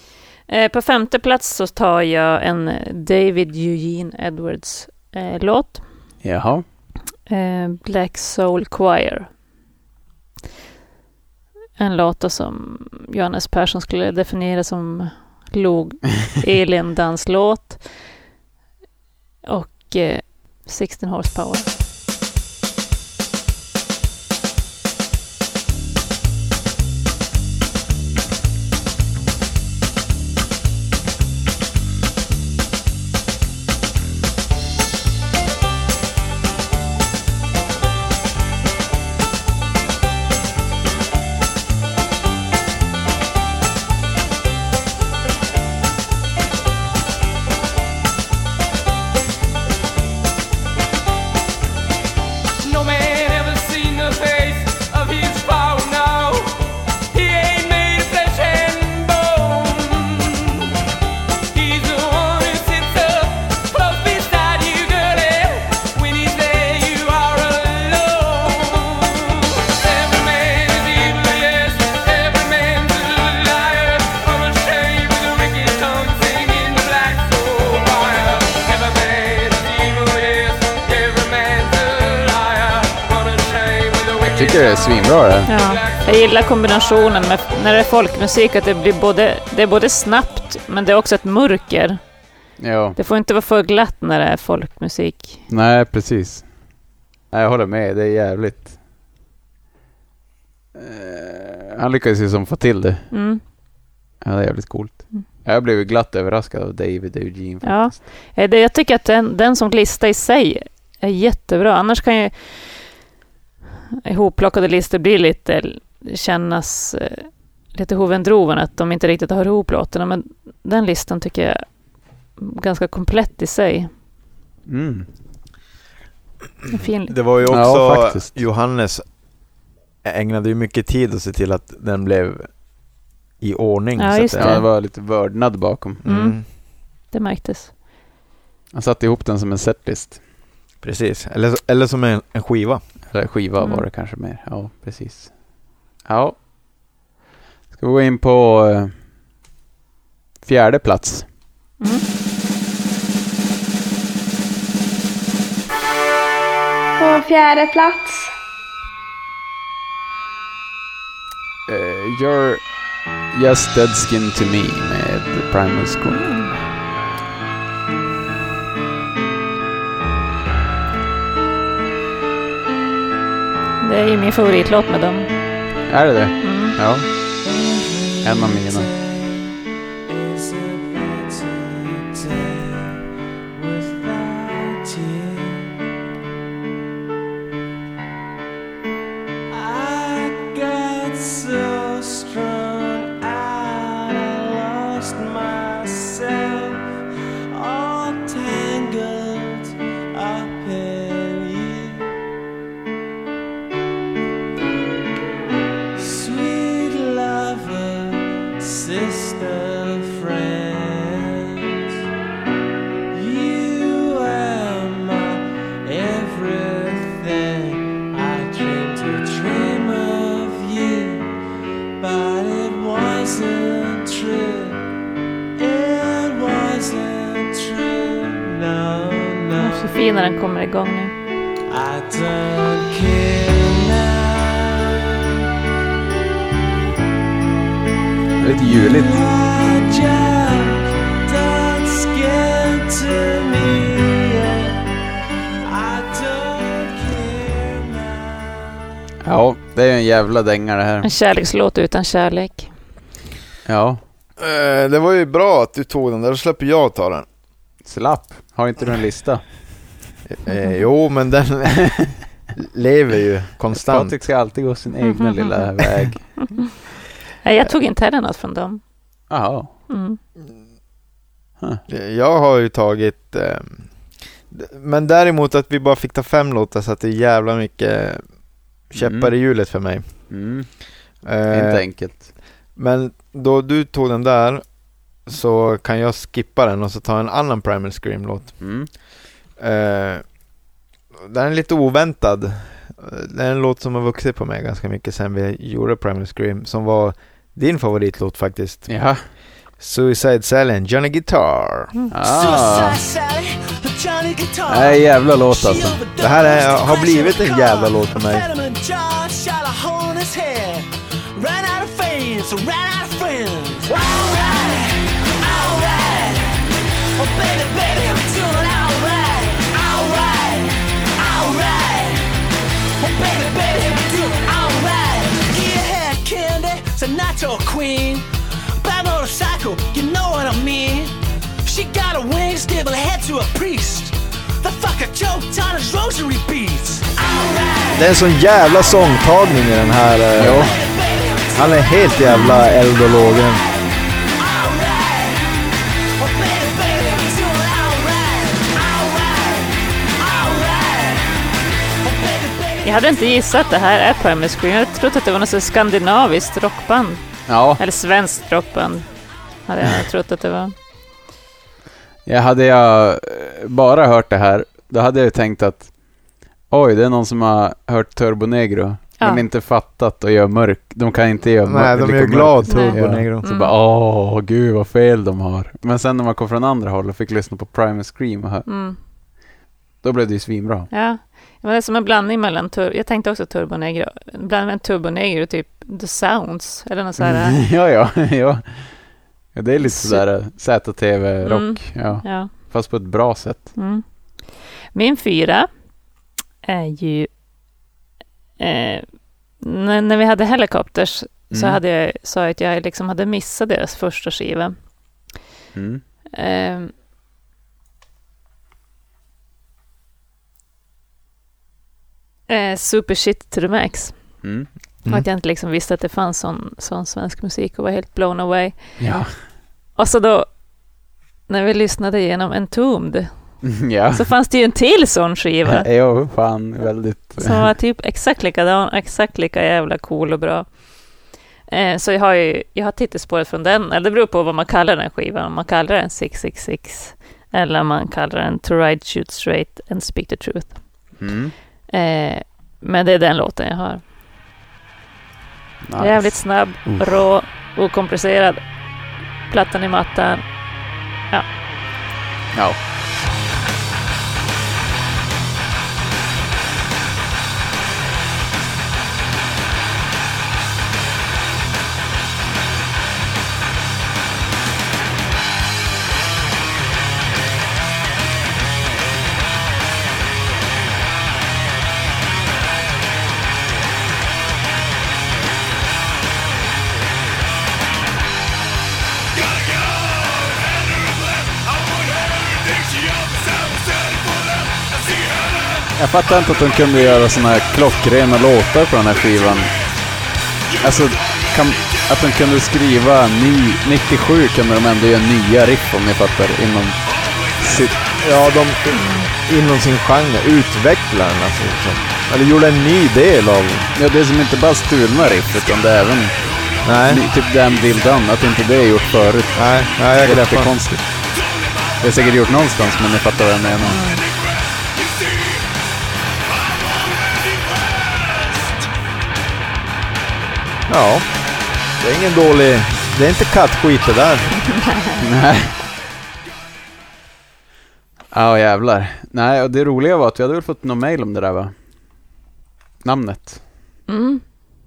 Eh, på femte plats så tar jag en David Eugene Edwards eh, låt.
Jaha.
Eh, Black Soul Choir. En låt då som Johannes Persson skulle definiera som log elin danslåt och eh, 16 horsepower.
No man ever seen the face of his foe now. He ain't made of flesh and bone. He's the one who sits up close beside you, girlie. When he's there, you are alone. Every man is evil, yes. Every man's a liar. From a shame with a wicked tongue, singing the black soul choir. Every man is evil, yes. Every man's a liar. From a shame with a
Jag
wicked
tycker det är svinbra det.
Ja, jag gillar kombinationen med när det är folkmusik, att det blir både, det är både snabbt men det är också ett mörker.
Ja.
Det får inte vara för glatt när det är folkmusik.
Nej, precis. Nej, jag håller med. Det är jävligt. Eh, han lyckades ju som få till det.
Mm.
Ja, det är jävligt coolt.
Mm.
Jag blev ju glatt överraskad av David Eugene.
Ja, eh, det, jag tycker att den, den som lista i sig är jättebra. Annars kan ju ihopplockade listor bli lite, kännas eh, lite hovendroven, att de inte riktigt hör ihop låtarna. Men den listan tycker jag är ganska komplett i sig.
Mm.
En fin
Det var ju också,
Ja, faktiskt.
Johannes ägnade ju mycket tid att se till att den blev i ordning.
Ja,
så att
just
Ja,
säga.
det var lite vördnad bakom.
Mm,
det märktes.
Han satte ihop den som en setlist.
precis, eller, eller som en, en skiva.
Eller skiva
Mm.
var det kanske mer. Ja, precis. Ja. Ska vi gå in på eh, fjärde plats.
På fjärde plats.
Eh, you're just dead skin to me med Primal Scream.
Mm. Det är ju min favoritlåt med dem.
Är det det?
Mm.
Ja. En av mina.
Is it better day without
melodi när den kommer igång nu.
I don't care
Lite juligt.
now. Jack, don't scare to me. I don't care now.
Ja, det är ju en jävla dänga det här.
En kärlekslåt utan kärlek.
Ja,
Eh, det var ju bra att du tog den där, då släpper jag ta den.
slapp. Har inte du en lista?
Eh, jo, men den [laughs] lever ju konstant.
Patrik ska alltid gå sin egna lilla väg.
Nej, jag tog inte heller något från dem.
Jaha.
Mm.
Jag har ju tagit... Eh, d- men däremot att vi bara fick ta fem låtar så att det är jävla mycket käppar i hjulet för mig.
Mm. Inte
Eh,
enkelt.
men då du tog den där så kan jag skippa den och så ta en annan Primal Scream-låt.
Mm.
Eh, den är lite oväntad. Eh, Det är en låt som har vuxit på mig ganska mycket sen vi gjorde Primal Scream som var din favoritlåt faktiskt.
Ja.
Suicide Silent, Johnny Guitar.
Ah.
Johnny Guitar.
Nej, jävla låt alltså.
Det här är, har blivit en jävla låt för mig.
Nacho queen, bad motorcycle, you know what I mean. She got a wing, stable head to a priest. The fucker choked on his rosary beads.
Det är en sån jävla sångtagning i den här. eh, Han är helt jävla eld och lågen.
Jag hade inte gissat att det här är Primal Scream. Jag hade trott att det var något så skandinaviskt rockband.
Ja,
Eller svenskt rockband. Hade jag trott att det var.
jag hade jag eh, bara hört det här, då hade jag tänkt att oj, det är någon som har hört Turbo Negro,
Ja.
men inte fattat och gör mörk. De kan inte göra
Nej,
mörk.
de
lika
är
mörk.
glad
Nej. Mm.
Turbo Negro.
Så bara åh, gud vad fel de har. Men sen när man kom från andra håll och fick lyssna på Primus Scream, och hör,
Mm.
då blev det ju svinbra.
Ja. Det var som en blandning mellan, tur- jag tänkte också Turbo Negro, en blandning mellan Turbo Negro och typ The Sounds. Eller något sådär.
ja, [laughs] ja, ja. ja. Det är lite
Så- Mm.
sådär eh, ZTV-rock, ja.
Ja.
fast på ett bra sätt.
Mm. Min fyra är ju... Eh, när, när vi hade Helicopters så
Mm.
hade jag, sa jag att jag liksom hade missat deras första skiva.
Mm.
Eh, eh, Super Shit to the Max.
Mm.
Och att jag inte liksom visste att det fanns sån, sån svensk musik och var helt blown away.
Ja. [laughs]
Och så då, när vi lyssnade igenom Entombed,
ja. [laughs]
så fanns det ju en till sån skiva.
Jo, fan väldigt...
Som var typ exakt likadan, exakt lika jävla cool och bra. Eh, så jag har ju, jag har titelspåret från den, eller det beror på vad man kallar den skivan, om man kallar den 666 eller om man kallar den To Ride, Shoot Straight and Speak the Truth.
Mm.
Eh, men det är den låten jag har.
Nice.
Jävligt snabb, rå, okomplicerad. Plattan i mattan.
Ja. Jag fattar inte att de kunde göra såna här klockrena låtar på den här skivan. Alltså, kan, att de kunde skriva ny... 97 kunde de ändå göra nya riff om ni fattar inom sitt...
Ja, de inom sin genre utvecklar den alltså. Liksom. Eller gjorde en ny del av...
Ja, det är som inte bara stulna riff utan det är även
Nej,
ny, typ Damn Dill Done, att inte det är gjort förut.
nej, nej jag
Det är
greppar den.
jättekonstigt. Det är säkert gjort någonstans men ni fattar vad jag menar.
Ja, det är ingen dålig... Det är inte kattskit det där.
Nej. Ja, jävlar. Nej, och det roliga var att vi hade väl fått någon mail om det där va? Namnet.
Mm.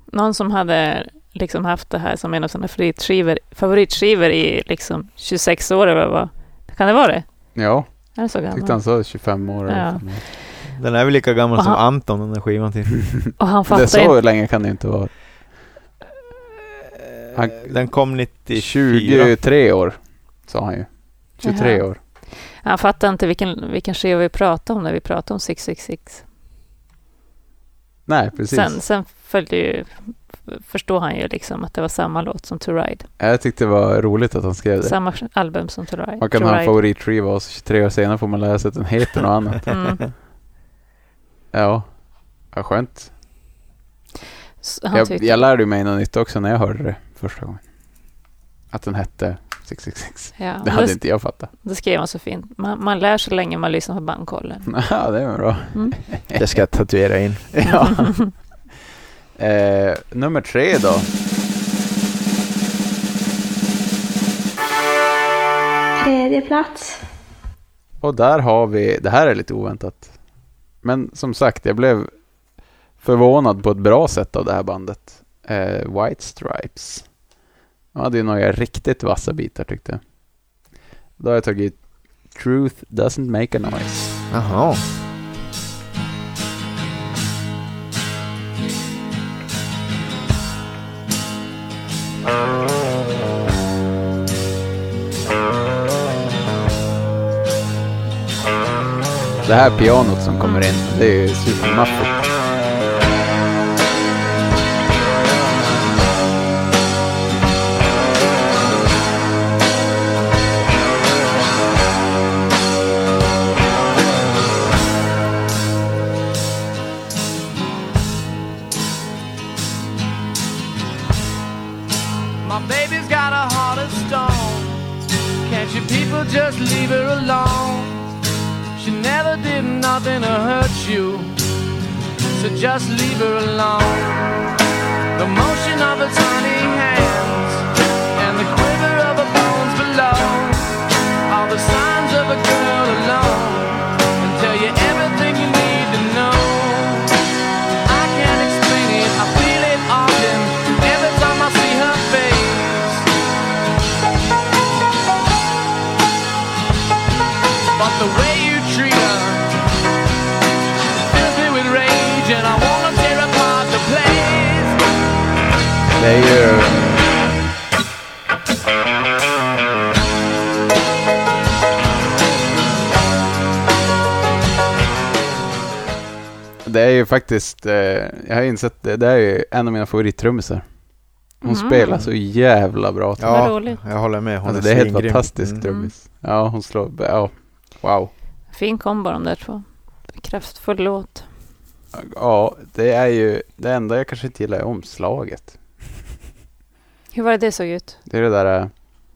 Någon som hade liksom haft det här som en av sina favoritskivor, favoritskivor i liksom 26 år eller vad Kan det vara det?
Ja,
Är det så gammalt?
tyckte han sa 25 år. eller
Ja.
25 år.
Den är väl lika gammal
Och
som
han-
Anton, den där skivan till.
Och han
Det
fattar
så
inte.
länge kan det inte vara. Han,
Den kom 94.
23 år, sa han ju. 23
Jaha.
år.
Han fattar inte vilken, vilken skiva vi pratar om när vi pratar om 666.
Nej, precis.
Sen, sen följde ju, förstår han ju liksom att det var samma låt som To Ride.
Jag tyckte det var roligt att han skrev det.
Samma album som To Ride.
Man kan
to
ha en
Ride.
favoritskiva och så 23 år senare får man lära sig att den heter något
[laughs]
annat.
Mm.
Ja, vad skönt.
S- Han
Jag,
tyckte-
jag lärde mig något nytt också när jag hörde det första gången. Att den hette 666.
ja,
Det
det,
hade inte jag fattat. [laughs]
det skrev han så fint. Man, man lär sig länge man lyssnar på bandkollen.
Ja, det var bra.
Mm.
Jag ska tatuera in.
Ja. [laughs] eh, nummer tre då.
Tredje plats.
Och där har vi, det här är lite oväntat. Men som sagt, jag blev förvånad på ett bra sätt av det här bandet. Eh, White Stripes. De hade ju några riktigt vassa bitar tyckte jag. Då har jag tagit Truth Doesn't Make a Noise.
Jaha.
Det här pianot som kommer in, det är ju supermaffigt.
My baby's got a heart of stone. Can't you people just leave her alone? She never did nothing to hurt you, so just leave her alone. The motion of her tiny hands and the quiver of her bones below are the signs of a girl alone and tell you everything you need to know. I can't explain it. I feel it often. Every time I see her face. But the way you treat her fills me with rage, and I wanna tear apart the place.
Det är ju... Det är ju faktiskt, eh, jag har insett det, det är ju en av mina favorittrummisar. Hon
Mm.
spelar så jävla bra. Ja,
Vad roligt.
jag håller med. Hon
alltså, det är helt
svingrym.
fantastiskt
Mm.
trummis. Ja, hon slår, ja, wow.
Fin kombo de där två. Kraftfull låt.
Ja, det är ju, det enda jag kanske inte gillar är omslaget.
Hur var det det såg ut?
Det är det där eh,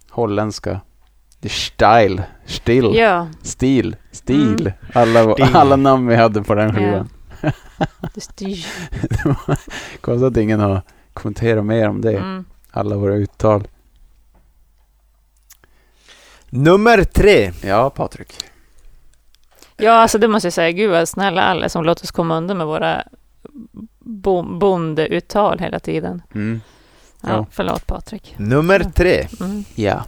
holländska, det är style, still.
Ja,
Stil, stil.
Mm.
Alla,
Stil.
alla namn vi hade på den skivan.
det
[laughs]
styr.
Konstigt att ingen har kommenterat mer om det.
Mm.
Alla våra uttal.
Nummer tre.
Ja, Patrik.
Ja, alltså det måste jag säga. Gud vad snälla alla som låter oss komma undan med våra bo- bondeuttal hela tiden.
Mm.
Ja,
Ja.
Förlåt Patrik.
Nummer tre.
Mm.
Ja.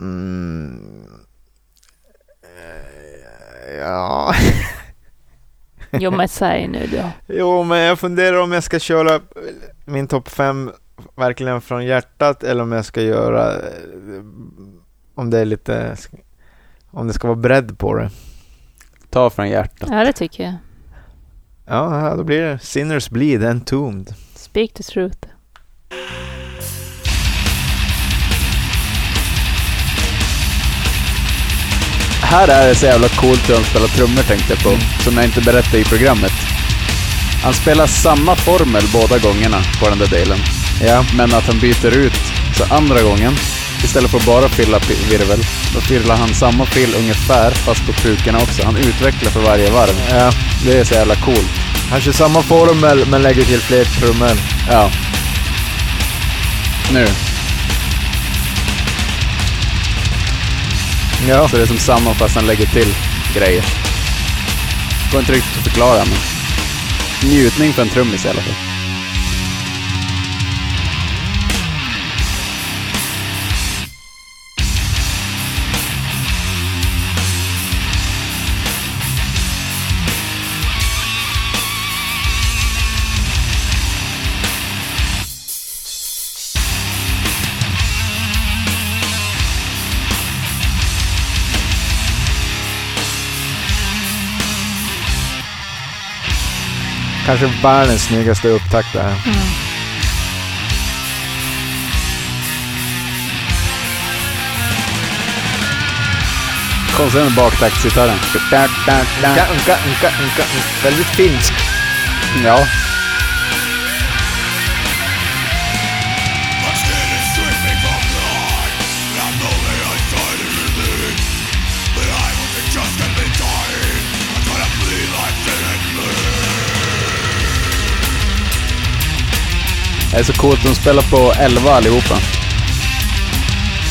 Mm. Eh, Ja.
Jo, men säg nu då.
Jo, men jag funderar om jag ska köra min topp fem verkligen från hjärtat eller om jag ska göra eh, om det är lite om det ska vara bredd på det.
Ta från hjärtat.
Ja, det tycker jag.
Ja, ja, då blir det Sinners Bleed Entombed.
Speak the truth.
Här är det så jävla coolt hur han spelar trummor tänkte jag på.
Mm.
Som jag inte berättade i programmet. Han spelar samma formel båda gångerna på den där delen.
Ja.
Men att han byter ut. Så andra gången, istället för att bara fylla pi- virvel, då fyller han samma fyll ungefär fast på krukorna också. Han utvecklar för varje varv.
ja.
Det är så jävla coolt.
Han kör samma formel men lägger till fler trummor.
Ja. Nu.
Ja.
Så det är som samma fast han lägger till grejer. Går inte riktigt att förklara men njutning för en trummis i alla fall.
Kanske världens snyggaste upptakt det här.
Konstigt med baktaktsgitarren.
Unka, unka, unka, unka. Väldigt finsk.
Ja. Det är så coolt, de spelar på 11 allihopa.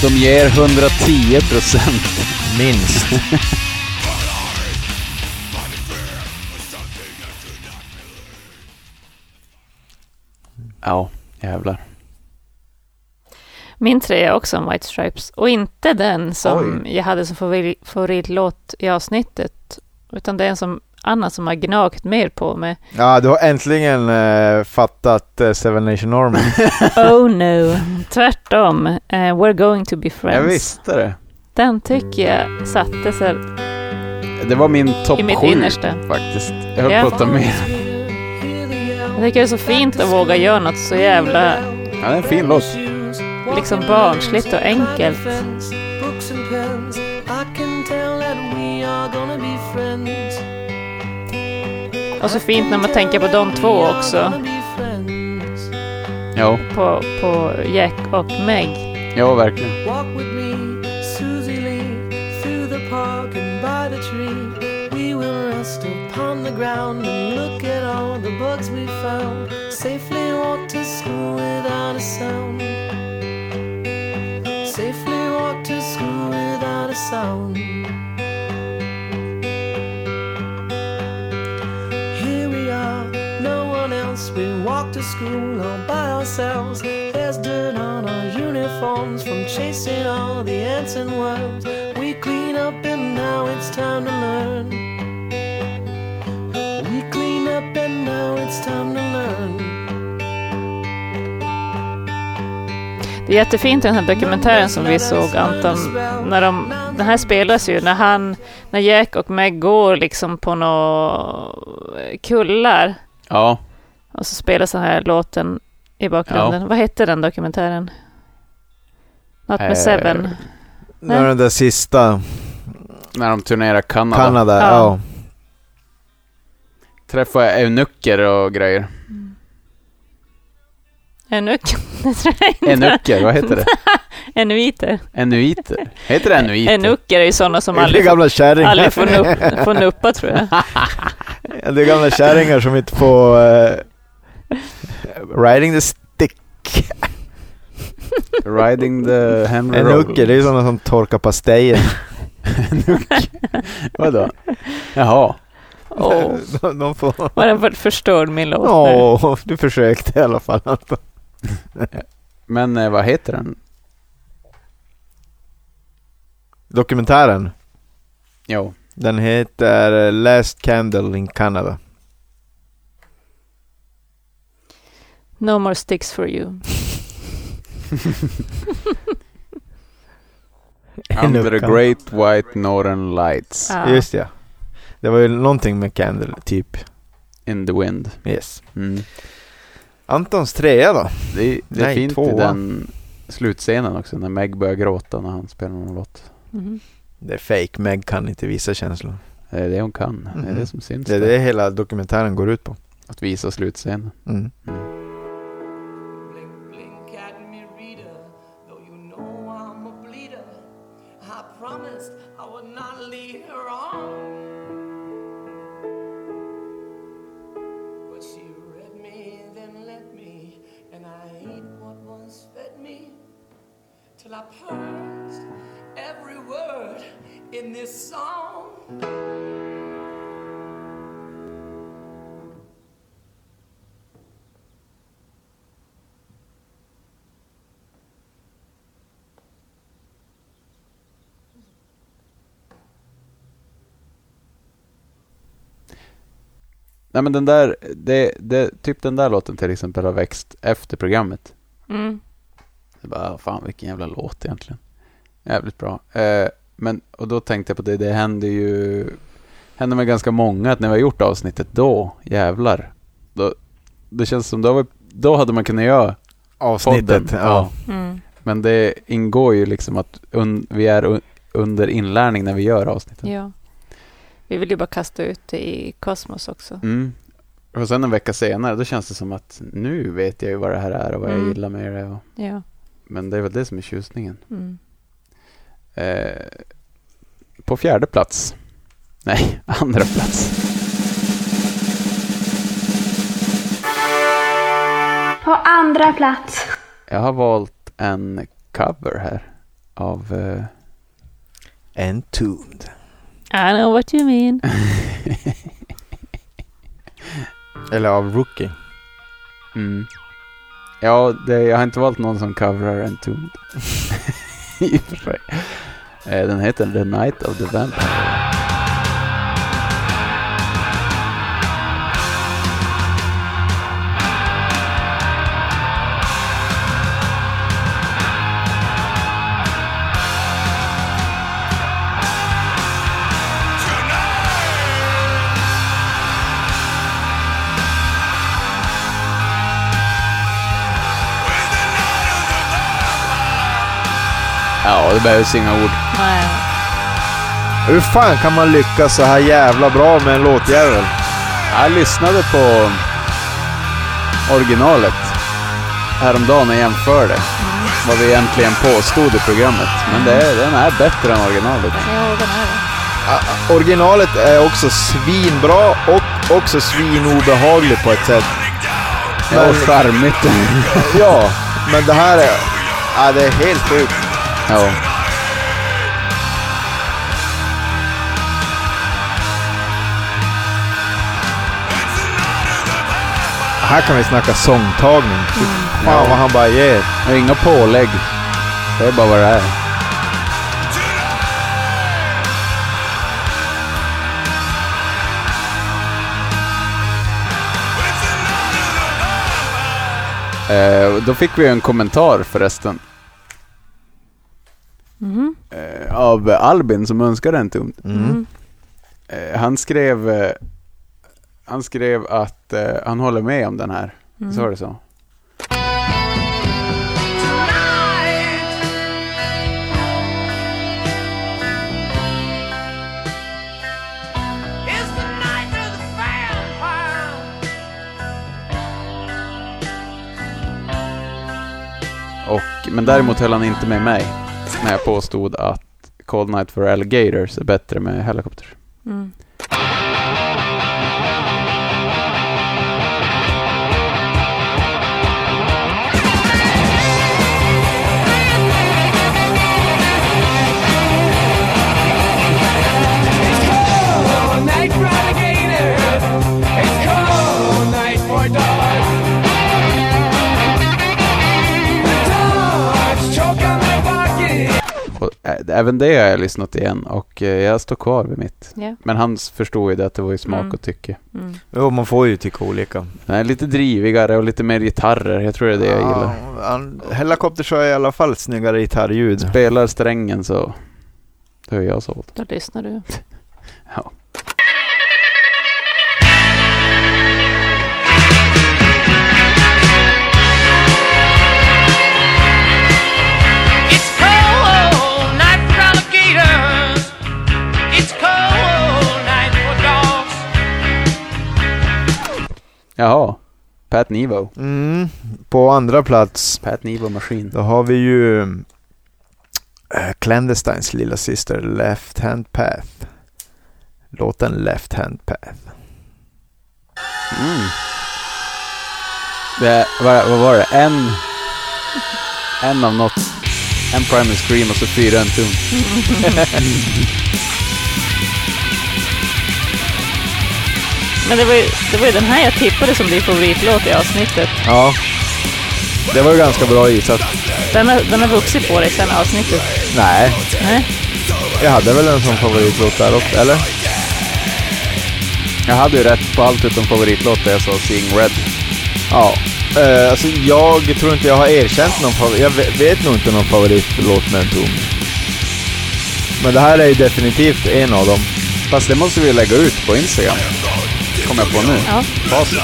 De ger 110 procent.
Minst.
Ja, [laughs] jävlar.
Min trea är också om White Stripes. Och inte den som jag hade som favori- favoritlåt i avsnittet. Utan det är en som annan som har gnagt mer på mig.
Ja, du har äntligen eh, fattat eh, Seven Nation Army.
Oh no. Tvärtom. Eh, we're going to be friends.
Jag visste det.
Den tycker jag satte sig
Det var min topp
i mitt
7
innersta.
faktiskt. Jag höll
Ja.
på att ta med
Jag tycker det är så fint att våga göra något så jävla
Ja, det är en fin låt.
liksom barnsligt och enkelt.
Books and pens, I can tell that we are gonna be friends.
Och så fint när man tänker på de två också.
Jo,
På, på Jack och Meg.
jo verkligen.
Walk with me, Susie Lee, through the park and by the tree. We will rest upon the ground and look at all the bugs we found. Safely walk to school without a sound. Safely walk to school without a sound. Here we are, no one else. We walk to school all by ourselves. There's dirt on our uniforms from chasing all the ants and worms. We clean up and now it's time to learn. We clean up and now it's time to learn.
Det är jättefint i den här dokumentären som vi såg Anton. När de, den här spelas ju när han, när Jack och Meg går liksom på några kullar.
Ja,
Och så spelas den här låten i bakgrunden. Vad hette den dokumentären? Något med
Eh,
Seven.
Nu är den där sista,
när de turnerar Kanada.
Kanada.
Ja.
Ja.
Träffar jag eunucker
[laughs]
och grejer.
Enuik. Det tror [laughs] jag inte.
Enucker, vad heter det?
Enuiter.
Enuiter? Heter det enuiter?
Enucker är ju sådana som
Det är
aldrig,
gamla kärringar.
aldrig får,
[laughs]
nupp, får nuppa tror jag.
Det är gamla kärringar som inte får... eh, riding the stick.
Riding the Hammer [laughs]
Enucker, det är ju sådana som torkar pastejer.
Vadå? Jaha.
Åh,
De, de får...
vad den för- förstörd min låt nu.
Åh, du försökte i alla fall. Anton.
Men eh, vad heter den?
Dokumentären,
Jo.
den heter eh, Last Candle in Canada.
No more sticks for you.
Under the
Enucker.
Great White Northern Lights.
Ja.
Just ja. Det var ju någonting med Candle, typ.
In the Wind.
Yes.
Mm.
Antons trea då?
Det, det är
Nej,
fint i
tvåa.
den slutscenen också när Meg börjar gråta när han spelar någon låt.
Mhm.
Det är fake, Meg kan inte visa känslor.
Det är det hon kan. Det är
Mhm.
det som syns.
Det är
där.
det hela dokumentären går ut på.
Att visa slutscenen.
Mm.
Blink, blink at me, reader, though you know I'm a bleeder. I promised I would not lead her on. But she read me, then let me, and I ate what was fed me till I purged every word
in this song.
Nej men den där, det, det, typ den där låten till exempel har växt efter programmet.
Mm.
Jag bara, fan vilken jävla låt egentligen. Jävligt bra. Eh, men, och då tänkte jag på det, det hände ju, hände med ganska många att när vi har gjort avsnittet då, jävlar. Då, det känns som, då, var, då hade man kunnat göra
Avsnittet,
podden.
ja.
Mm.
Men det ingår ju liksom att un, vi är un, under inlärning när vi gör avsnittet.
Ja. Vi vill ju bara kasta ut det i kosmos också.
Mm. Och sen en vecka senare, då känns det som att nu vet jag ju vad det här är och vad
Mm.
jag gillar med det. Och,
Ja.
men det är väl det som är tjusningen.
Mm.
Eh, på fjärde plats. [laughs] Nej, andra plats.
På andra plats.
Jag har valt en cover här av eh,
Entombed.
I know what you mean.
Eller av Rookie.
Mm. Ja, det, jag har inte valt någon som coverar Entombed. [laughs] I och för sig. Eh, den heter The Night of the Vampire. Ja, det behövs inga ord.
Nej.
Hur fan kan man lyckas så här jävla bra med en låtjävel?
Jag lyssnade på originalet häromdagen och jämförde vad vi egentligen påstod i programmet. Men det, den är bättre än originalet.
Ja, den är det.
Ah, ah, Originalet är också svinbra och också svinobehagligt på ett sätt.
Ja, och charmigt.
ja, men det här är... Ja, det är helt sjukt.
Ja.
Här kan vi snacka sångtagning. Fy
Mm.
Fan vad han bara ger.
Och inga pålägg. Det är bara vad det är. Eh, och då fick vi en kommentar förresten
Mhm.
eh, av Albin som önskade en tum.
Mm.
Eh, han skrev eh, Han skrev att eh, han håller med om den här.
Mm.
Så var det så?
It's the night of the vampire.
Och, men däremot höll han inte med mig när jag påstod att Cold Night for Alligators är bättre med Helicopters.
Mm.
Cold night for alligators. It's cold night for dogs. The dogs choke on their pockets.
Och, ä- även det har jag lyssnat igen och eh, jag står kvar vid mitt.
Ja.
Men han s- förstod ju det att det var ju smak
Mm.
och tycke.
Mm.
Jo, man får ju tycka olika.
Den är lite drivigare och lite mer gitarrer. Jag tror det är det jag gillar.
gillar. Helikopter kör i alla fall ett snyggare gitarrljud.
Spelar strängen så då är jag såld.
Då lyssnar du.
Ja.
It's cold night for alligators. It's cold night for dogs.
Jaha. Pat Nivo.
Mm. På andra plats,
Pat Nivo Machine.
då har vi ju eh, Clandestines lilla syster Left Hand Path. Låten Left Hand Path.
Mm. Det, vad, vad var det? En... En av något. En Primal Scream och så fyra en tum.
Men det var, ju, det var ju den här jag tippade som din favoritlåt i avsnittet.
Ja. Det var ju ganska bra gissat.
Den har, den har vuxit på dig sedan avsnittet.
Nej,
Nej.
jag hade väl en som favoritlåt där också, eller?
Jag hade ju rätt på allt utom favoritlåt där jag sa Sing Red.
Ja. Eh, alltså jag tror inte jag har erkänt någon favorit. Jag ve- vet nog inte någon favoritlåt med en tom. Men det här är ju definitivt en av dem.
Fast det måste vi ju lägga ut på Instagram. Kommer jag på nu.
Ja.
Facit.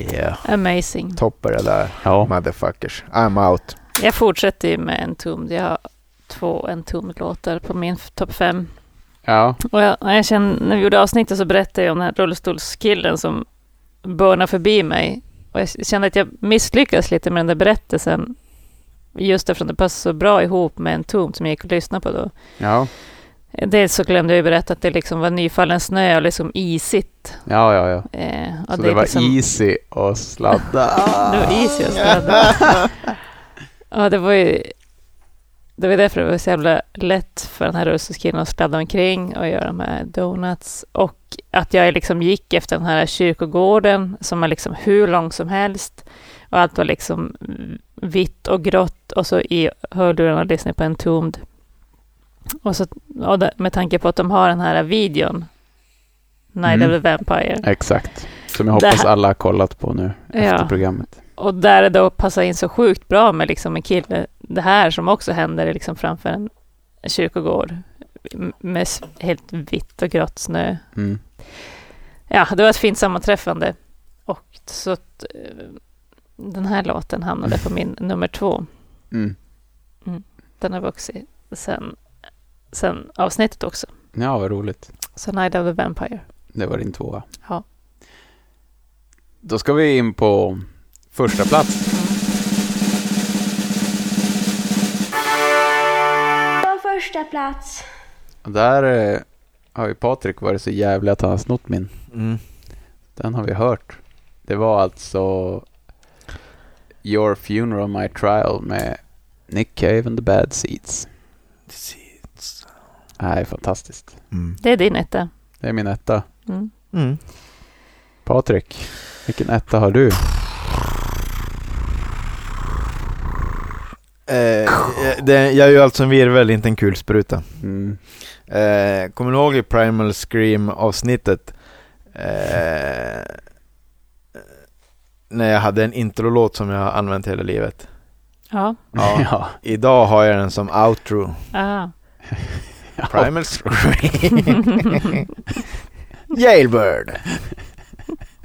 Yeah.
Amazing.
Topper det där.
Ja.
Motherfuckers. I'm out.
Jag fortsätter ju med en tum. Jag har två en tum-låtar på min f- topp fem.
Ja.
Och jag, när, jag kände, när vi gjorde avsnittet så berättade jag om den här rullstolskillen som börnar förbi mig. Och jag kände att jag misslyckades lite med den där berättelsen. Just eftersom det passade så bra ihop med en tom som jag gick och lyssnade på då.
Ja.
Dels så glömde jag ju berätta att det liksom var nyfallen snö och liksom isigt.
Ja, ja, ja.
Eh, och
Så det,
är
var
liksom,
easy och sladda.
Det var is jag städade. [laughs] ja, det var ju... Det var därför det var så jävla lätt för den här rullstolskillen att sladda omkring och göra de här donuts. Och att jag liksom gick efter den här kyrkogården som är liksom hur lång som helst. Och allt var liksom vitt och grått och så i hörlurarna lyssnade jag på en tomd. Och så och där- med tanke på att de har den här videon, Night
Mm.
of the Vampire.
Exakt. Som jag
Det
hoppas
här-
alla har kollat på nu efter
Ja.
programmet.
Och där det då passar in så sjukt bra med liksom en kille, det här som också händer liksom framför en kyrkogård m- med s- helt vitt och grått snö.
Mm.
Ja, det var ett fint sammanträffande. Och så att eh, den här låten hamnade på min nummer två.
Mm.
Den har vuxit sen, sen avsnittet också.
Ja, vad roligt.
Så Night of the Vampire.
Det var din tvåa.
Ja.
Då ska vi in på första plats.
På första plats.
Och Där eh, har ju Patrik varit så jävlig att han har snott min.
Mm.
Den har vi hört. Det var alltså Your Funeral My Trial med Nick Cave and the Bad Seeds. Nej, fantastiskt.
Mm.
Det är din etta.
Det är min etta.
Mm.
Mm.
Patrik, vilken etta har du?
Eh, eh, det, jag är ju alltså en virvel, inte en kulspruta.
Mm.
Eh, kommer ni ihåg i Primal Scream-avsnittet? Eh, eh, när jag hade en introlåt som jag har använt hela livet.
Ja.
Ja.
[laughs] Ja.
Idag har jag den som outro.
Ah.
Primal Scream. [laughs] Jailbird.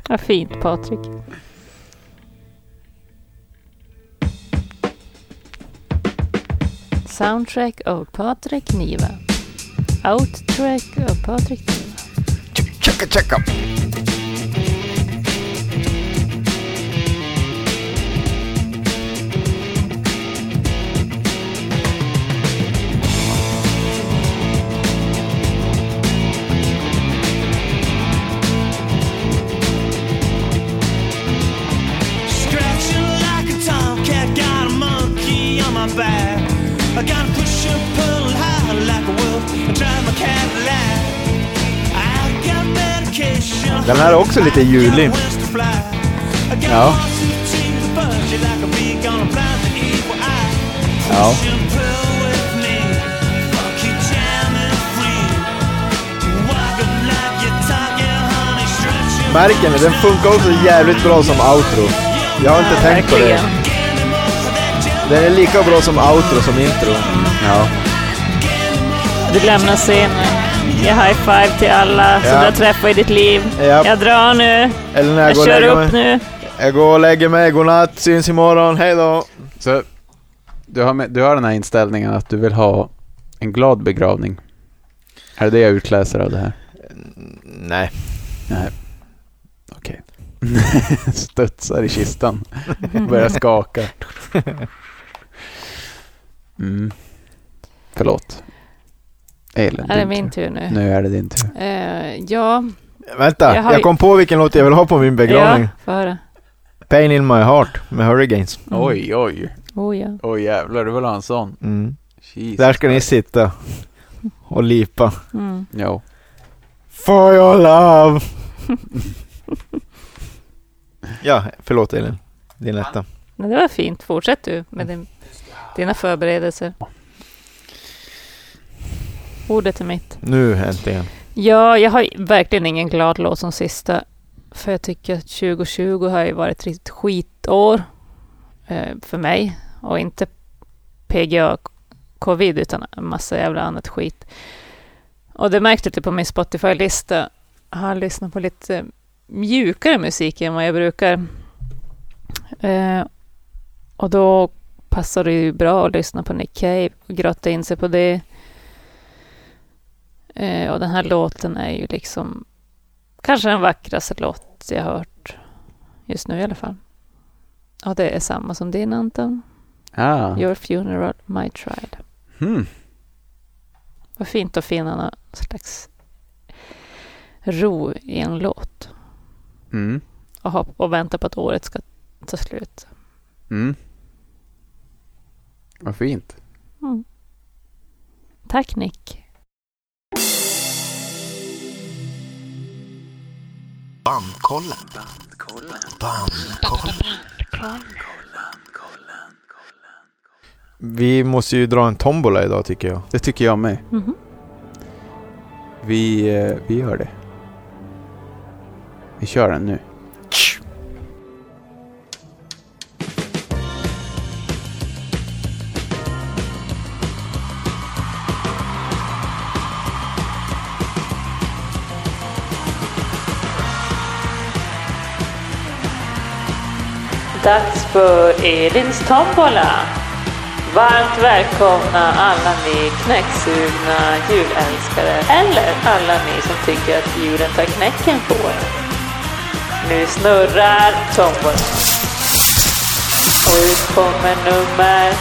Vad fint Patrik. Soundtrack av Patrik Niva. Outtrack av Patrik Niva.
Checka, checka.
Scratching like a tomcat, got a monkey on my back. I gotta push and pull high like a wolf and drive my Cadillac. I got medication.
Den här är också lite julig.
Ja.
Ja. Märker ni? Den funkar också jävligt bra som outro. Jag har inte tänkt på det.
Verkligen.
Den är lika bra som outro som intro.
Ja.
Du lämnar scenen. Jag high five till alla som
Ja.
du har träffat i ditt liv.
Ja.
Jag drar nu.
Eller när jag,
Jag
går och
kör
lägger
upp
mig.
nu.
Jag går och lägger mig. Godnatt. Syns imorgon. Hej då.
Så Du har, med, du har den här inställningen att du vill ha en glad begravning. Är det det jag utläser av det här?
Nej.
Nej. Okej. [laughs] Studsar i kistan. Börjar skaka. Mm. Förlåt. Elin.
Är det
din
min
tur.
tur nu?
Nu är det din tur.
Eh, ja,
Vänta,
Jag
jag,
har ju-
kom på vilken låt jag vill ha på min begravning.
ja, få höra.
Pain in my heart med Hurricanes.
Mm.
Oj, oj.
Oh, ja.
Oj jävlar, du vill ha en sån?
Mm.
Jesus.
Där ska ni sitta och lipa.
Mm.
Jo.
For
[laughs]
your love! ja, förlåt Elin. Din etta.
Men det var fint. Fortsätt du med din, dina förberedelser. Ordet är mitt.
Nu äntligen.
Ja, jag har verkligen ingen glad låt som sista. För jag tycker att 2020 har ju varit ett riktigt skitår eh, för mig. Och inte PGA covid utan en massa jävla annat skit. Och det märkte jag lite på min Spotify-lista. Jag har lyssnat på lite mjukare musik än vad jag brukar. Eh, och då passar det ju bra att lyssna på Nick Cave och grotta in sig på det. Eh, och den här låten är ju liksom kanske den vackraste låt jag har hört just nu i alla fall. Och det är samma som din Anton.
Ah.
Your funeral, my trial.
Hmm.
Vad fint att finna någon slags ro i en låt
Mm.
och, ha, och vänta på att året ska ta slut.
Mm. Vad fint.
Tack Nick.
Bandkollen. Bandkollen.
Vi måste ju dra en tombola idag tycker jag.
Det tycker jag med.
Mhm.
Vi, eh, vi gör det. Vi kör den nu.
Dags för Elins tombola. Varmt välkomna alla ni knäcksugna julälskare eller alla ni som tycker att julen tar knäcken på er. Nu snurrar tombolan. Och ut kommer nummer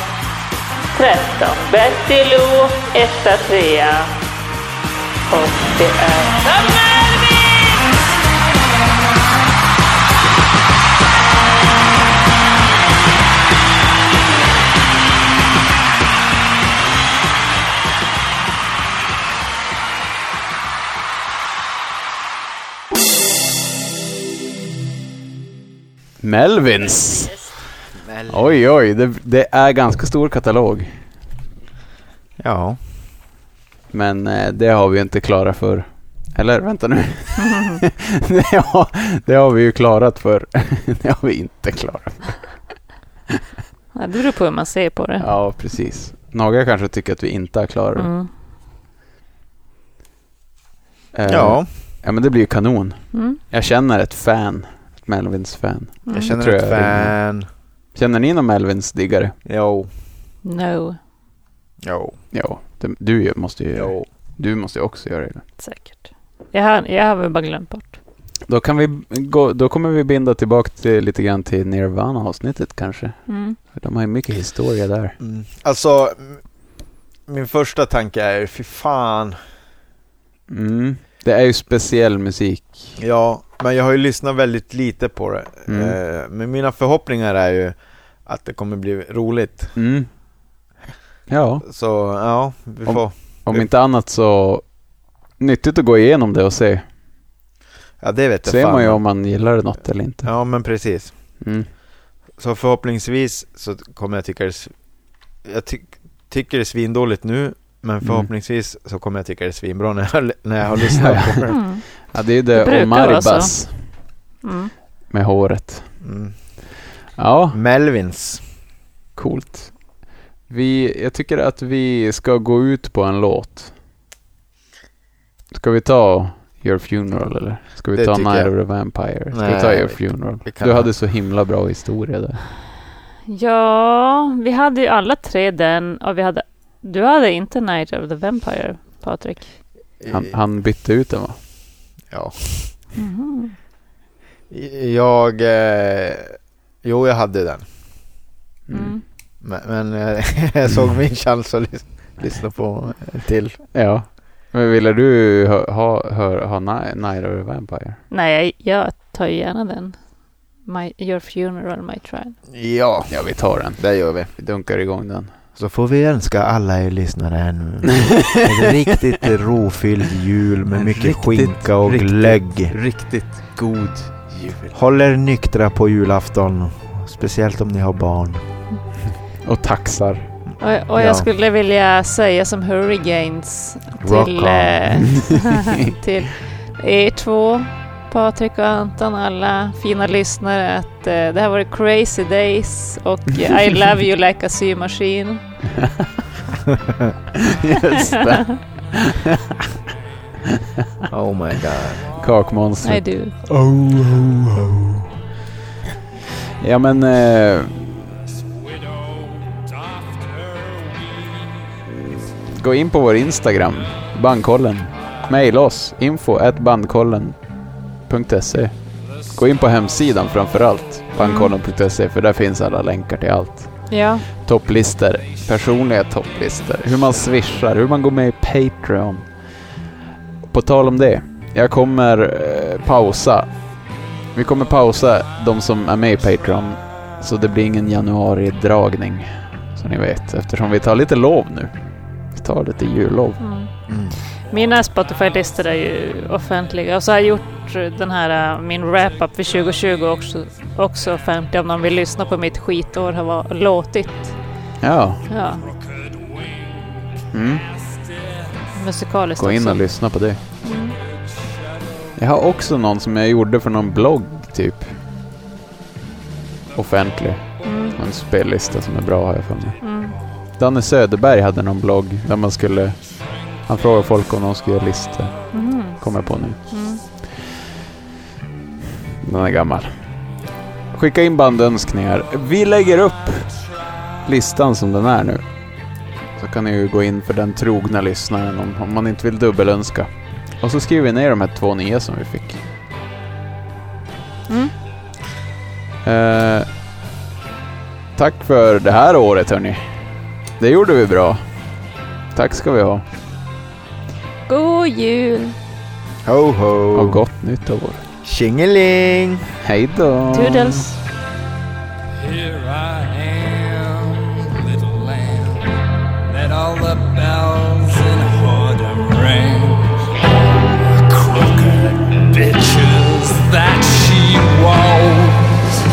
13. Betty Lou, etta, trea. Och det är nummer
Melvins. Oj, oj. Det, det är ganska stor katalog.
Ja.
Men eh, det har vi ju inte klarat för. Eller vänta nu. [laughs] det, har, det har vi ju klarat för. [laughs] det har vi inte klarat för.
Ja, Det beror på hur man ser på det.
Ja, precis. Några kanske tycker att vi inte har klarat det.
Mm.
Eh,
Ja.
ja, men det blir ju kanon.
Mm.
Jag känner ett fan. Ett Melvins-fan.
Mm.
Jag känner
Tror
ett
jag
fan.
Känner ni någon Melvins-diggare?
Jo.
No,
Jo.
Ja, det, du ju- måste ju
Jo.
Du måste ju också göra det.
säkert. Jag har, jag har väl bara glömt bort.
Då, kan vi gå, då kommer vi binda tillbaka till, lite grann till Nirvana-avsnittet kanske.
Mm.
För De har ju mycket historia där.
Mm. Alltså, m- min första tanke är ju, fy fan.
Mm. Det är ju speciell musik.
Ja, men jag har ju lyssnat väldigt lite på det.
Mm.
Eh, Men mina förhoppningar är ju att det kommer bli roligt.
Mm. Ja,
Så ja, vi
Om-
får.
om inte annat så nyttigt att gå igenom det och se.
Ja, det vet jag
Ser
fan.
man ju om man gillar något eller inte.
Ja, men precis.
Mm.
Så förhoppningsvis så kommer jag tycka det... s- Jag ty- tycker det är svindåligt nu, men
Mm.
förhoppningsvis så kommer jag tycka det är svinbra när jag,
[laughs]
när jag har lyssnat på det.
Mm.
Ja, det är ju
Det
det
brukar vara
Omaribas
så. Mm.
med håret.
Mm.
Ja,
Melvins.
coolt. Vi, jag tycker att vi ska gå ut på en låt. Ska vi ta Your Funeral eller? Ska vi
Det
ta
tycker
Night
jag.
of the Vampire? Ska vi
Nej,
ta
jag
Your
vet.
Funeral?
Vi kan
Du
ha-
hade så himla bra historia där.
Ja, vi hade ju alla tre den och vi hade... Du hade inte Night of the Vampire, Patrik.
Eh.
Han, han bytte ut den va?
Ja.
Mhm.
Jag... Eh, jo, jag hade den.
Mm.
Men, men eh, [laughs] jag såg min chans att lys- lyssna på till.
Ja. Men ville du ha, ha, ha, ha Ni- Night of the Vampire?
Nej, jag, jag tar ju gärna den. My, your funeral, my trial.
Ja,
Ja, vi tar den.
det gör vi.
Vi dunkar igång den.
Så får vi önska alla er lyssnare en, en riktigt rofylld jul med
En
mycket
riktigt,
skinka och
riktigt-
glögg.
Riktigt god jul.
Håll er nyktra på julafton. Speciellt om ni har barn.
Och taxar.
Och, och
Ja.
jag skulle vilja säga som Hurricanes
Rock
till,
on.
eh, [laughs] till er två, Patrik och Anton, alla fina lyssnare att eh, det här var crazy days
[laughs]
och I love you like a symaskin.
Just det.
Oh my god.
I
Kakmonstret.
do.
Ja men... Eh, gå in på vår Instagram, Bandkollen. Mail oss, info at bandkollen.se. Gå in på hemsidan framförallt, bandkollen.se, för där finns alla länkar till allt.
Ja,
Topplistor, personliga topplistor, hur man swishar, hur man går med i Patreon. På tal om det, jag kommer eh, pausa. Vi kommer pausa de som är med i Patreon, så det blir ingen januari-dragning, som ni vet, eftersom vi tar lite lov nu. Vi tar lite jullov.
mm.
Mm.
Mina Spotify-listor är ju offentliga och så har jag gjort den här, eh, min wrap-up för 2020 också, också offentlig om någon vill lyssna på mitt skitår har va- låtit.
Ja,
Ja,
mm.
musikaliskt
gå in
också.
och lyssna på det.
Mm.
Jag har också någon som jag gjorde för någon blogg, typ. Offentlig.
Mm.
En spellista som är bra, har jag för mig.
Mm.
Danne Söderberg hade någon blogg där man skulle... Han frågade folk om de skulle göra listor.
Mm.
Kommer jag på nu.
Mm.
Den är gammal. Skicka in bandönskningar. Vi lägger upp listan som den är nu. Så kan ni ju gå in för den trogna lyssnaren om, om man inte vill dubbelönska. Och så skriver vi ner de här två nya som vi fick.
Mm.
Eh, tack för det här året hörni. Det gjorde vi bra. Tack ska vi ha.
God
Mm.
jul!
Ho ho.
Och gott nytt år.
Tjingeling!
Hej då!
Toodles!
Here I am, little lamb, that all the bells in Hordem rang. The crooked bitches that she was,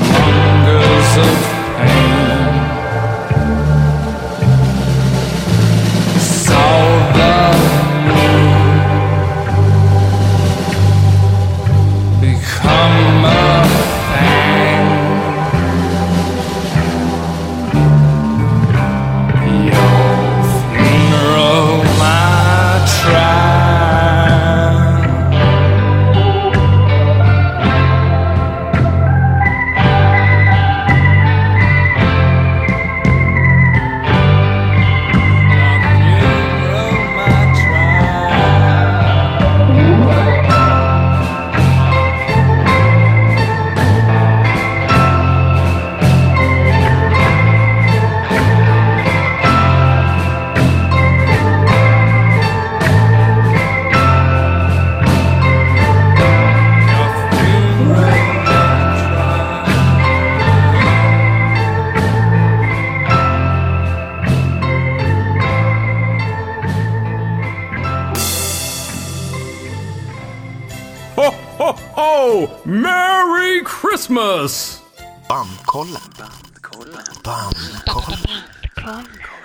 mongers of pain. Saw the moon become a thing. Your funeral, my trial. Your funeral, my trial.
Ho, ho, ho! Merry Christmas!
Bandkollen. Bandkollen. Bandkollen.